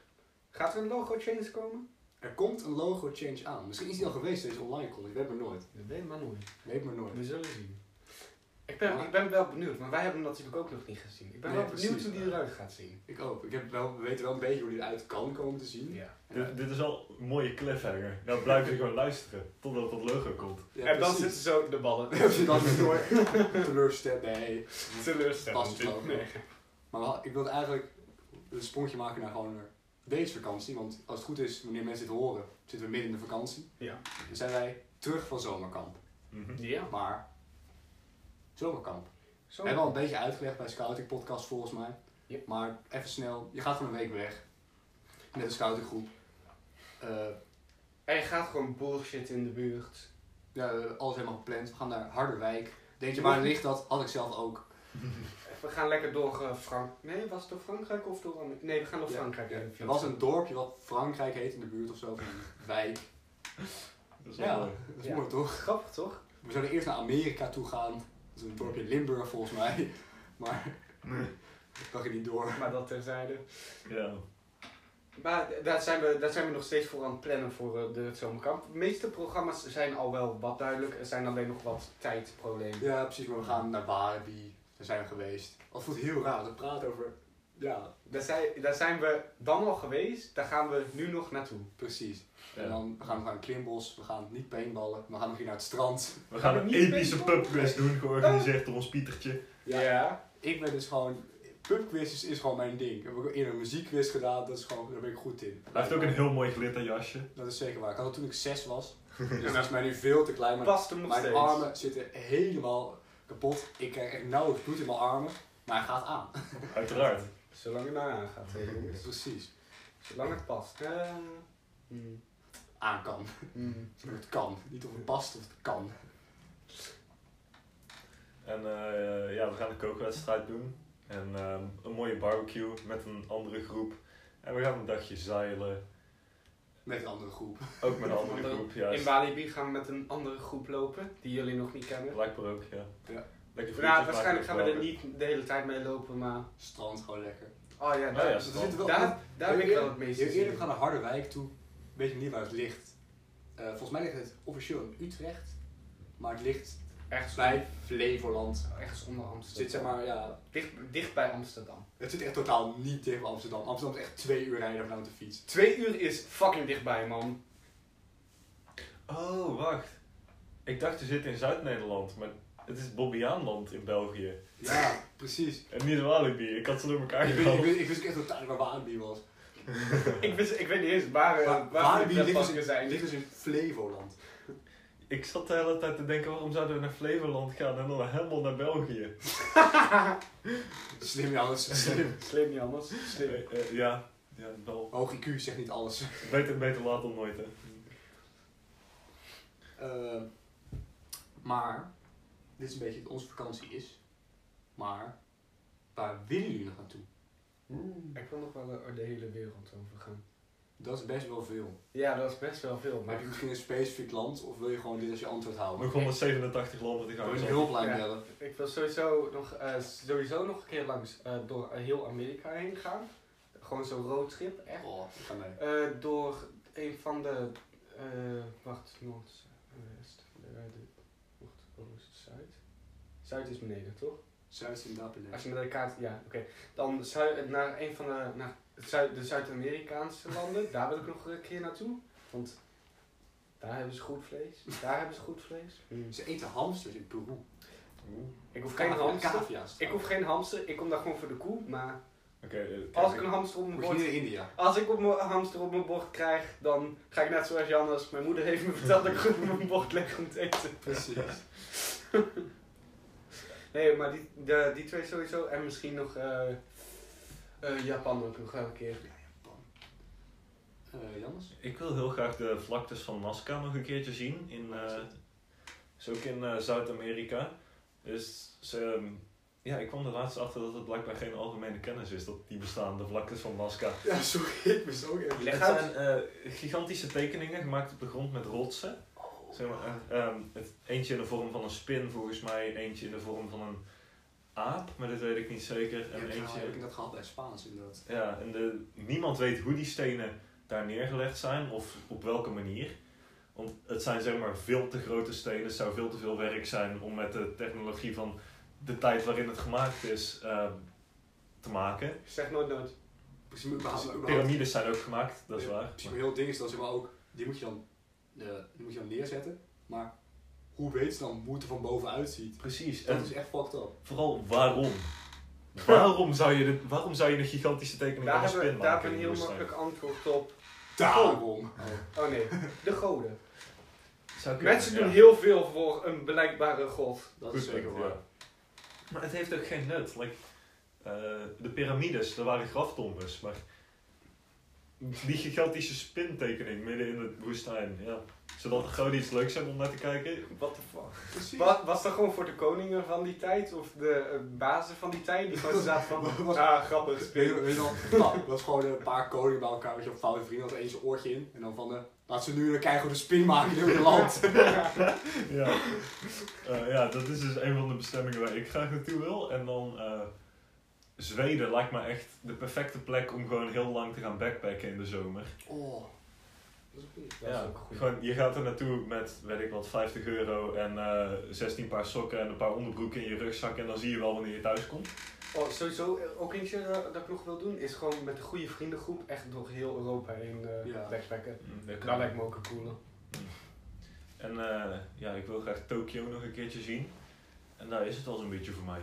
Gaat er een logo change komen?
Er komt een logo change aan. Misschien is die al geweest deze online call. Ik weet maar nooit.
Dat weet maar nooit.
Weet maar nooit.
We zullen zien. Oh. Ik ben, ik ben wel benieuwd, maar wij hebben hem natuurlijk ook nog niet gezien. Ik ben
Nee,
wel benieuwd
precies.
hoe die eruit gaat zien.
Ik ook. Ik heb wel, we weten wel een beetje hoe die eruit kan komen te zien. eh,
Ja.
Dit, dit is al een mooie cliffhanger. Nou blijven gewoon luisteren, totdat dat logo komt.
Ja,
en dan
precies.
zitten ze ook in de ballen.
Heb je dat niet door? Teleurstellend. Nee. Past
Teleurstellend.
het ook. Maar wel, ik wilde eigenlijk een sprongje maken naar gewoon een datevakantie. Want als het goed is, wanneer mensen dit horen, zitten we midden in de vakantie.
Ja.
En zijn wij terug van zomerkamp.
Mhm.
Ja.
Maar zomerkamp.
Zo.
We hebben al een beetje uitgelegd bij Scouting Podcast volgens mij.
Yep.
Maar even snel, je gaat gewoon een week weg. Met een scoutinggroep. Eh,
En je gaat gewoon bullshit in de buurt.
ja, alles helemaal gepland. We gaan naar Harderwijk. Denk je,
Ja.
waar ligt dat? Had ik zelf ook.
We gaan lekker door eh, Frank... Nee, was het door Frankrijk of door... Amer- Nee, we gaan door
Ja.
Frankrijk. heen
Er
fietsen.
was een dorpje wat Frankrijk heet in de buurt of zo. Van een wijk.
Dat is wel
Ja,
mooi.
dat is
Ja.
mooi toch?
Grappig, toch?
We zouden eerst naar Amerika toe gaan. Dat is een dorpje in Limburg volgens mij. Maar dat ging niet door.
Maar dat terzijde.
Ja.
Maar d- daar zijn, we, daar zijn we nog steeds voor aan het plannen voor eh, de, het zomerkamp. De meeste programma's zijn al wel wat duidelijk. Er zijn alleen nog wat tijdproblemen.
Ja, precies. Maar we gaan naar Walibi. Daar zijn we geweest. Dat voelt heel raar. We praten over... Ja,
Daar zijn, daar zijn we dan al geweest. Daar gaan we nu nog naartoe.
precies.
Ja.
En dan we gaan we naar een klimbos, we gaan niet paintballen, we gaan nog hier naar het strand.
We gaan een epische pubquiz doen, georganiseerd door ons Pietertje.
Ja. Ik ben dus gewoon, pubquiz is gewoon mijn ding. Ik heb ook eerder een muziekquiz gedaan, dat is gewoon, daar ben ik goed in.
Hij heeft ook een heel mooi glitterjasje.
Dat is zeker waar. Ik had het toen ik zes was, dus dat is mij nu veel te klein. Maar
Past hem nog
mijn
steeds.
armen zitten helemaal kapot. Ik krijg echt nauwelijks bloed in mijn armen, maar hij gaat aan.
Uiteraard.
Zolang het maar aangaat, hè, jongens.
Precies.
Zolang het past. Eh,
Mm.
hmm,
Aan kan.
hmm.
Of Het kan. Niet of het past of het kan.
En eh, ja, we gaan een kookwedstrijd doen. En ehm, een mooie barbecue met een andere groep. En we gaan een dagje zeilen.
Met een andere groep.
Ook met een andere
Andere-
groep, juist.
In Walibi gaan we met een andere groep lopen, die jullie nog niet kennen.
Blijkbaar ook, ja.
Ja.
Lekker
Nou,
frietjes
waarschijnlijk gaan
maken
we
met
er niet de hele tijd mee lopen, maar...
Strand gewoon lekker.
Oh ja,
Oh
daar,
ja,
Dus er zitten wel-
daar, daar ben ik wel het meest
Heel
in.
eerlijk, we gaan naar Harderwijk toe. Weet ik niet waar het ligt. Eh, volgens mij ligt het officieel in Utrecht. Maar het ligt
Ergens
bij Flevoland.
Ergens onder
Het
Amsterdam.
zit zeg maar, ja...
dicht, dicht bij Amsterdam.
Het zit echt totaal niet tegen Amsterdam. Amsterdam is echt twee uur rijden vanuit de fiets.
Twee uur is fucking dichtbij, man.
Oh, wacht. Ik dacht, je zit in Zuid-Nederland, maar het is Bobbejaanland in België.
Ja, precies.
En niet Walibi, ik had ze door elkaar
Ik wist, ik
gehaald.
wist, ik wist ook echt totaal niet waar Walibi was.
ik, wist, ik weet niet eens waar, eh, waar,
Wa-
de
Walibi ligt dus,
pretparken
in,
zijn.
ligt dus in Flevoland.
Ik zat de hele tijd te denken, waarom zouden we naar Flevoland gaan en dan helemaal naar België?
Slim, Jannes. Slim.
Slim niet anders. Slim.
Eh, eh, ja, ja, wel.
Hoog IQ zegt niet alles.
Beter, beter laat dan nooit, hè.
Eh, maar, dit is een beetje wat onze vakantie is. Maar, waar willen jullie nog naartoe?
Ik wil nog wel eh, de hele wereld over gaan.
Dat is best wel veel.
Ja, dat is best wel veel.
Maar heb
Maar
je misschien een specifiek land of wil je gewoon dit als je antwoord houden?
Nog 187 landen te
Wil je
gaan.
een
zo.
hulplijn
Ja.
bellen?
ik wil sowieso nog, eh, sowieso nog een keer langs eh, door eh, heel Amerika heen gaan. Gewoon zo'n roadtrip, echt.
Oh, ik ga mee.
Eh, door een van de. eh wacht, Noord, West. eh, de- Wacht, Oost, Zuid. Zuid is beneden, toch?
Zuid is inderdaad beneden.
Als je met een kaart, ja, oké. Dan zuid, naar een van de, naar het zuid, de Zuid-Amerikaanse landen, daar wil ik nog een keer naartoe. Want daar hebben ze goed vlees. Daar hebben ze goed vlees.
Ze eten hamsters in Peru.
Oeh.
Ik hoef geen
Ka-
hamster.
Cavia's.
Ik hoef geen hamster, ik kom daar gewoon voor de koe. Maar
Oké, eh,
als ik
kijk,
een hamster op mijn
Moet je niet
bord,
naar India.
als ik op mijn hamster op mijn bord krijg, dan ga ik net zoals Jannes. Mijn moeder heeft me verteld dat ik goed op mijn bord leg om te eten.
Precies.
Nee, maar die, de, die twee sowieso. En misschien nog eh, eh, Japan ook nog wel een keer.
Eh Jannes?
ik wil heel graag de vlaktes van Nazca nog een keertje zien. In, eh, is ook in eh, Zuid-Amerika. Dus ze, ja, ik kwam er laatst achter dat het blijkbaar geen algemene kennis is dat die bestaan, de vlaktes van Nazca.
Ja, sorry, ik was ook
Het
even.
zijn eh, gigantische tekeningen gemaakt op de grond met rotsen.
Oh,
Zeg maar, eh, ehm, het, eentje in de vorm van een spin volgens mij, eentje in de vorm van een aap, maar dat weet ik niet zeker. En
Ja, ik
eentje...
nou heb ik dat gehad bij Spaans inderdaad.
Ja, en de, niemand weet hoe die stenen daar neergelegd zijn of op welke manier. Want het zijn zeg maar veel te grote stenen. Het zou veel te veel werk zijn om met de technologie van de tijd waarin het gemaakt is ehm, te maken. Dus
Zeg nooit nooit.
Precies, maar überhaupt- überhaupt-
Piramides zijn ook gemaakt, dat is
Ja,
waar.
Precies, maar heel ding is dan zeg maar ook, die moet je dan, eh, die moet je dan neerzetten. Maar hoe weet ze dan hoe het er van bovenuit ziet?
Precies.
Dat
En
is echt fucked up.
vooral waarom? Waarom zou je, dit, waarom zou je een gigantische tekening
Daar
van een
hebben
spin
we daar
maken?
hebben we een
in de
heel
woestijn?
makkelijk antwoord op.
Daarom!
Oh nee, de goden.
Zou kunnen,
Mensen
ja.
doen heel veel voor een blijkbare god.
Dat is
Goed
zeker
punt, ja.
waar.
Maar het heeft ook geen nut. Like, eh, de piramides, daar waren graftombes, maar die gigantische spintekening midden in de woestijn, ja. Zodat er gewoon iets leuks hebben om naar te kijken.
What the fuck?
Precies.
Was, was dat gewoon voor de koningen van die tijd? Of de eh, bazen van die tijd? Die gewoon zaten van,
Was-
ah grappig,
Weet je,
speel.
weet je wel, nou, dat is gewoon een paar koningen bij elkaar, weet je wel, foute vrienden, had één zijn oortje in. En dan van, eh, laat ze nu een keigoede spin maken in hun land.
Ja. Eh, ja, dat is dus een van de bestemmingen waar ik graag naartoe wil. En dan eh, Zweden lijkt me echt de perfecte plek om gewoon heel lang te gaan backpacken in de zomer.
Oh, dat is een goeie.
Dat is ook goed.
Gewoon, je gaat er naartoe met, weet ik wat, 50 euro en eh, 16 paar sokken en een paar onderbroeken in je rugzak. En dan zie je wel wanneer je thuis komt.
Oh, sowieso, eh, ook eentje dat, dat ik nog wil doen, is gewoon met een goede vriendengroep echt door heel Europa heen eh
Ja.
backpacken.
Dat
Dat lijkt me ook een coole.
En eh, ja, ik wil graag Tokio nog een keertje zien. En daar is het al zo'n beetje voor mij.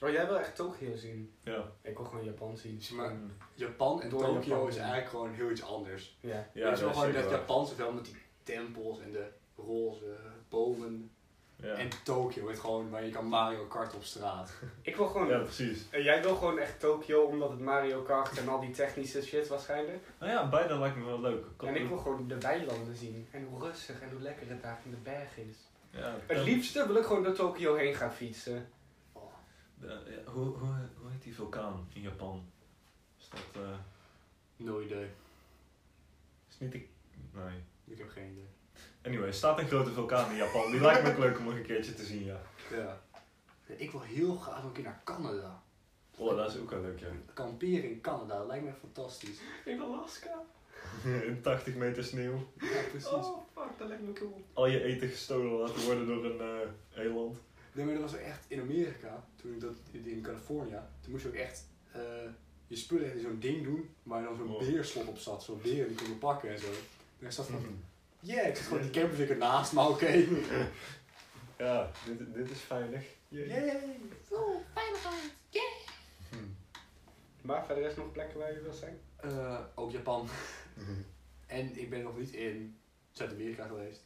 Oh, jij wil echt Tokio zien?
Ja. Mm.
Ik wil gewoon Japan zien.
Zie maar, Japan en
Door
Tokio
Japan.
is eigenlijk gewoon heel iets anders.
Ja.
Ja, het is wel gewoon
zeker
dat
waar.
Japanse film met die tempels en de roze bomen.
Ja.
En Tokio, het gewoon waar je kan Mario Kart op straat.
Ik wil gewoon
ja, precies.
En jij wil gewoon echt Tokio, omdat het Mario Kart en al die technische shit waarschijnlijk.
Nou ja, beide lijkt me wel leuk. Kan-
En ik wil gewoon de weilanden zien. En hoe rustig en hoe lekker het daar in de bergen is.
Ja,
Het
Tom-
liefste wil ik gewoon door Tokio heen gaan fietsen.
Oh,
Ja, ja, hoe, hoe, hoe heet die vulkaan in Japan? Is dat... eh,
no idee.
is niet de... Nee.
Ik heb geen idee.
Anyway, er staat een grote vulkaan in Japan. Die lijkt me ook leuk om nog een keertje te zien, ja.
Ja. Ik wil heel graag nog een keer naar Canada.
Oh, dat is ook wel leuk, ja.
Kamperen in Canada, dat lijkt me fantastisch.
In Alaska? Oh,
In 80 meter sneeuw.
Ja, precies.
fuck, dat lijkt me cool.
Al je eten gestolen laten worden door een eh, eland.
Nee, maar dat was echt in Amerika, toen ik dat in California, toen moest je ook echt eh, je spullen echt in zo'n ding doen, waar dan zo'n
Oh.
beerslot op zat, zo'n beer die kon je pakken en zo. En ik zat
Mhm.
van, ja, ik zit gewoon in die camper naast, maar oké.
Ja, dit, dit is veilig.
Yay.
Zo, veiligheid. Yay.
Hm.
Maar verder is er nog plekken waar je wil zijn?
Eh, ook Japan.
Mhm.
En ik ben nog niet in Zuid-Amerika geweest.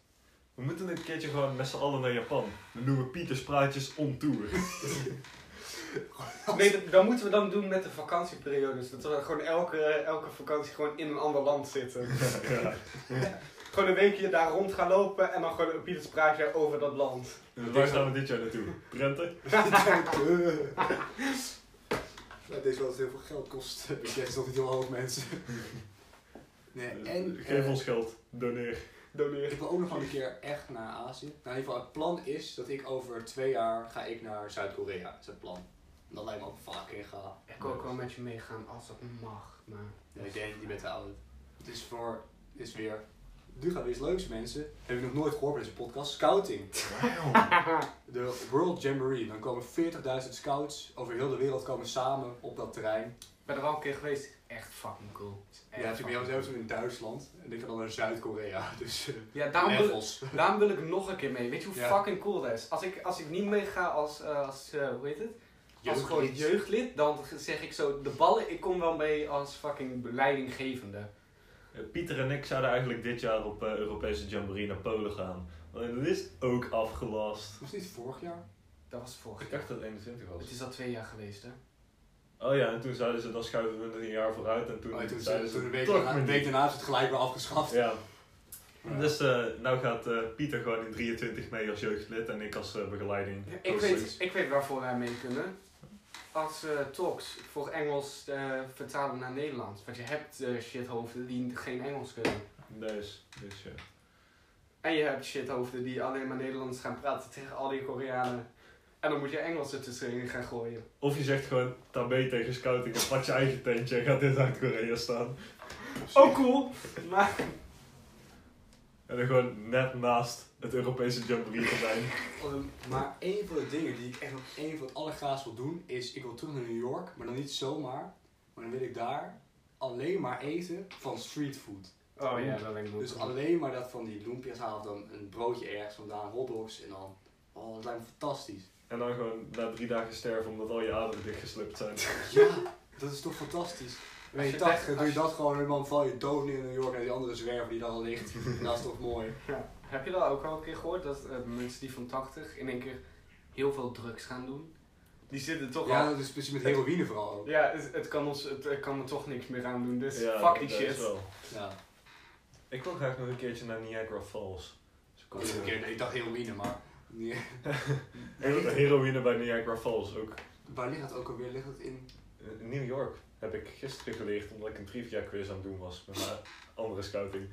We moeten een keertje gewoon met z'n allen naar Japan. Dan doen we Pieters Praatjes on tour.
Nee, dat, dat moeten we dan doen met de vakantieperiodes. Dat we gewoon elke, elke vakantie gewoon in een ander land zitten.
ja.
gewoon een weekje daar rond gaan lopen en dan gewoon een Pieters praatje over dat land.
Waar gaan we dit jaar naartoe? Prenten?
Ja, deze wel heel veel geld kost. Ik is nog niet heel hoog, mensen. Nee, en...
Geef
eh,
ons geld. Doneer.
Doneer.
Ik wil ook nog wel een keer echt naar Azië. Nou, in ieder geval, het plan is dat ik over twee jaar ga ik naar Zuid-Korea. Dat is het plan. En dat lijkt me ook fucking gaaf.
Ik wil ook wel met je meegaan als dat mag, maar...
Nee, ik denk, je bent te oud. Het is voor, het is weer Nu gaan we iets leuks, mensen. Heb ik nog nooit gehoord bij deze podcast. Scouting.
Wauw.
De World Jamboree. Dan komen 40.000 scouts over heel de wereld komen samen op dat terrein.
Ik ben er wel een keer geweest. Echt fucking cool. Is echt
Ja, het is
fucking
meer zelfs in Duitsland. En ik ga dan naar Zuid-Korea. Dus eh,
cool. Ja, daarom wil,
levels.
daarom wil ik nog een keer mee. Weet je hoe
Ja.
fucking cool dat is? Als ik, als ik niet meega als, eh, als eh, hoe heet het? Als gewoon
Jeugdlied.
jeugdlid, dan zeg ik zo, de ballen, ik kom wel mee als fucking leidinggevende.
Eh, Pieter en ik zouden eigenlijk dit jaar op eh, Europese Jamboree naar Polen gaan. Alleen dat is ook afgelast.
Was niet vorig jaar?
Dat was vorig
Ik
jaar.
dacht dat het 21 was.
Het is al twee jaar geweest, hè?
Oh ja, en toen zeiden ze, dan schuiven we het een jaar vooruit. En toen,
Oh, toen,
zeiden ze,
toen een week,
toch
daarna,
maar
een week
niet.
daarna is het gelijk weer afgeschaft.
Ja.
Ja.
Dus eh, nou gaat eh, Pieter gewoon in 23 mee als jeugdlid en ik als eh, begeleiding.
Ik
Of
weet,
zoiets.
ik weet waarvoor wij mee kunnen. Als eh, talks voor Engels eh, vertalen naar Nederlands. Want je hebt eh, shithoofden die geen Engels kunnen.
Dus, dus ja.
En je hebt shithoofden die alleen maar Nederlands gaan praten tegen al die Koreanen. En dan moet je Engels er tussenin gaan gooien.
Of je zegt gewoon tabé tegen scouting en pak je eigen tentje en gaat dit uit Korea staan.
Oh cool! Maar
En dan gewoon net naast het Europese Jamboree gordijn.
Eh, maar één van de dingen die ik echt nog één van het allergraafst wil doen, is ik wil terug naar New York, maar dan niet zomaar. Maar dan wil ik daar alleen maar eten van streetfood.
Oh ja, dat lijkt me
Dus
ook.
alleen maar dat van die lumpia's haal of dan een broodje ergens vandaan, hotdogs en dan. Oh, dat lijkt me fantastisch.
En dan gewoon na drie dagen sterven omdat al je aderen dichtgeslipt zijn.
Ja, dat is toch fantastisch. En
Als
in
je
je
echt-
tachtig doe
als
je
je-
dat gewoon en dan val je dood neer in New York en die andere zwerver die daar al ligt. En dat is toch mooi.
Ja. Heb je dat ook al een keer gehoord? Dat eh, mensen die van 80 in één keer heel veel drugs gaan doen. Die zitten toch
Ja,
al...
dat is precies met heroïne vooral ook.
Ja, het, het kan ons, het, eh, kan me toch niks meer aan doen, dus fuck
dat
die
is
shit.
wel.
Ja.
Ik wil graag nog een keertje naar Niagara Falls. Dus
Ik, dacht,
keer.
ik dacht heroïne, maar. Nee.
Heroïne bij Niagara Falls ook.
Waar ligt dat ook alweer? Ligt dat in.
In New York heb ik gisteren geleerd omdat ik een trivia quiz aan het doen was met mijn andere scouting.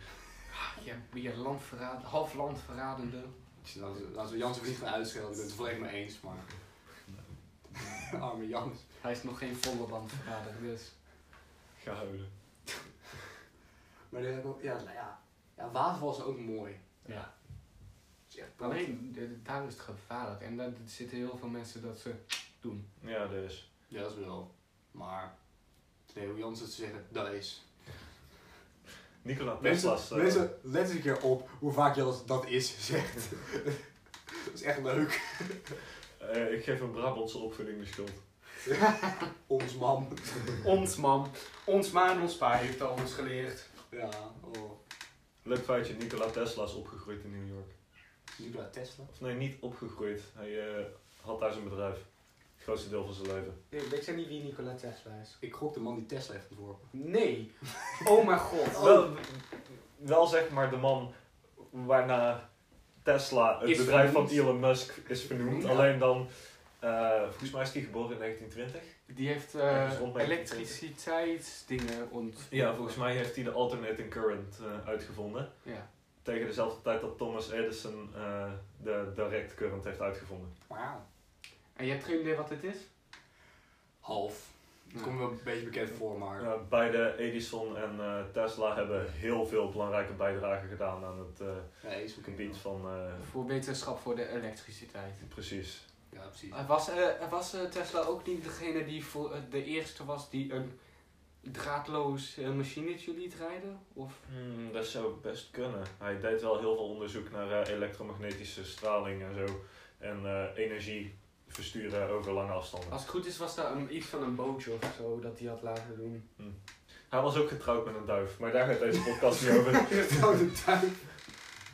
Je, je landverraad, half landverradende.
Tja, Laten we- laten we Jans er niet gaan uitschelden, ik ben het volledig mee eens, maar. Arme Jans.
Hij is nog geen volle landverrader, dus...
Ga huilen.
Maar dan heb ik ook- ja, nou ja. ja, waterval is ook mooi.
Ja.
Dat is echt prachtig.
Alleen, de- de- daar is het gevaarlijk. En daar zitten heel veel mensen dat ze doen.
Ja, dus.
Ja, dat is wel. Maar, nee, hoe Jans het zeggen, dat is.
Nicola
Mensen,
Tesla's. eh,
mensen, let eens een keer op hoe vaak Jans dat is zegt. dat is echt leuk.
eh, ik geef een Brabantse opvoeding de schuld.
Ons man.
Ons man, ons ma en ons pa heeft al ons geleerd.
Ja, oh.
Leuk feitje, Nikola Tesla is opgegroeid in New York.
Nikola Tesla.
Of nee, niet opgegroeid. Hij eh, had daar zijn bedrijf. Het grootste deel van zijn leven.
Nee, weet jij niet wie Nikola Tesla is?
Ik gok de man die Tesla heeft ontworpen.
Nee. Oh mijn god.
Wel, wel zeg maar de man waarna Tesla, het
Is
bedrijf van
vernoemd.
Elon Musk, is vernoemd.
Ja.
Alleen dan, eh, volgens mij is hij geboren in 1920.
Die heeft eh,
Ja, dus rondleiding.
elektriciteitsdingen ont...
Ja, volgens mij heeft hij de alternating current eh, uitgevonden.
Ja.
Tegen dezelfde tijd dat Thomas Edison eh, de direct current heeft uitgevonden.
Wauw.
En je hebt geen idee wat dit is? Nou,
Half. Dat
Ja.
komt me wel een beetje bekend voor, maar...
Eh, beide Edison en eh, Tesla hebben heel veel belangrijke bijdragen gedaan aan het eh,
Ja, is ook
gebied van... eh,
Voor wetenschap voor de elektriciteit.
Precies.
Ja, precies.
Eh, Was, eh, was eh, Tesla ook niet degene die voor, eh, de eerste was die een draadloos eh, machinetje liet rijden? Of?
Hmm, dat zou best kunnen. Hij deed wel heel veel onderzoek naar eh, elektromagnetische straling en zo. En eh, energie versturen over lange afstanden.
Als het goed is was dat een, iets van een bootje of zo dat hij had laten doen.
Hij was ook getrouwd met een duif, maar daar gaat deze podcast niet over.
Oh,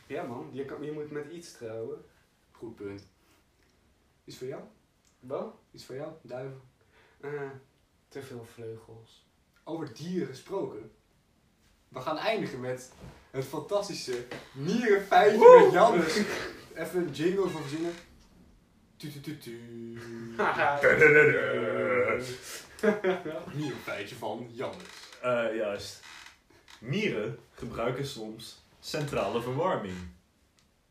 Ja man, je, kan, je moet met iets trouwen.
Goed punt. Iets voor jou?
Wat?
Iets voor jou? Duiven?
Eh, te veel vleugels.
Over dieren gesproken. We gaan eindigen met het fantastische mierenfeitje met Jannes. Even een jingle voor verzinnen. Tu tu tu tu. Mierenfeitje van Jannes.
Eh, juist. Mieren gebruiken soms centrale verwarming.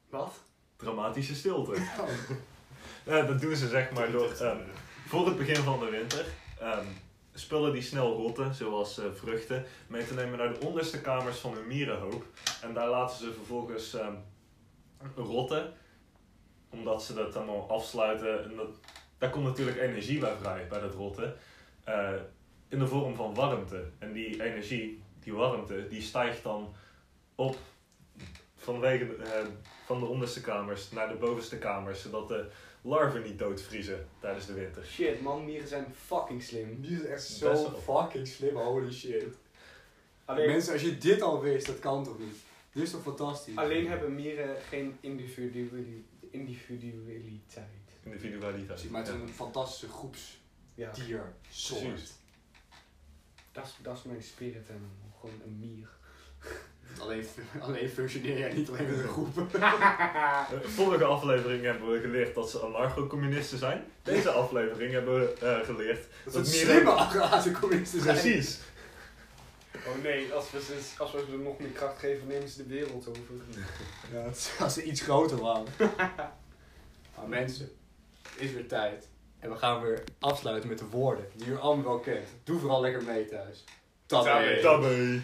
Wat?
Dramatische stilte.
Oh,
Eh, dat doen ze zeg maar door... eh, voor het begin van de winter ehm, spullen die snel rotten, zoals eh, vruchten, mee te nemen naar de onderste kamers van hun mierenhoop. En daar laten ze vervolgens ehm, rotten, omdat ze dat allemaal afsluiten. En dat, daar komt natuurlijk energie bij vrij, bij dat rotten, eh, in de vorm van warmte. En die energie, die warmte, die stijgt dan op vanwege eh, van de onderste kamers naar de bovenste kamers, zodat de larven niet doodvriezen tijdens de winter.
Shit man, mieren zijn fucking slim.
Die is echt
Best
zo
wel.
fucking slim, holy shit.
Alleen,
Mensen, als je dit al wist, dat kan toch niet? Dit is toch fantastisch?
alleen hebben mieren geen individuali- individualiteit.
Individualiteit.
Precies, Maar het is
Ja.
een fantastische groepsdier.
Ja,
Soort.
Precies.
dat is- dat is mijn spirit animal. Gewoon een mier.
Alleen, fu- alleen functioneer jij niet alleen met een groep.
Eh, Vorige aflevering hebben we geleerd dat ze anarcho-communisten zijn. Deze aflevering hebben we eh, geleerd.
Dat
Dat
is
mieren-
slimme agrarische communisten zijn.
Precies.
Oh nee, als we, ze, als we ze nog meer kracht geven, nemen ze de wereld over.
Ja, het is- als ze iets groter waren. maar mensen, het is weer tijd. En we gaan weer afsluiten met de woorden die u allemaal wel kent. Doe vooral lekker mee thuis. Tabé.
Tabé.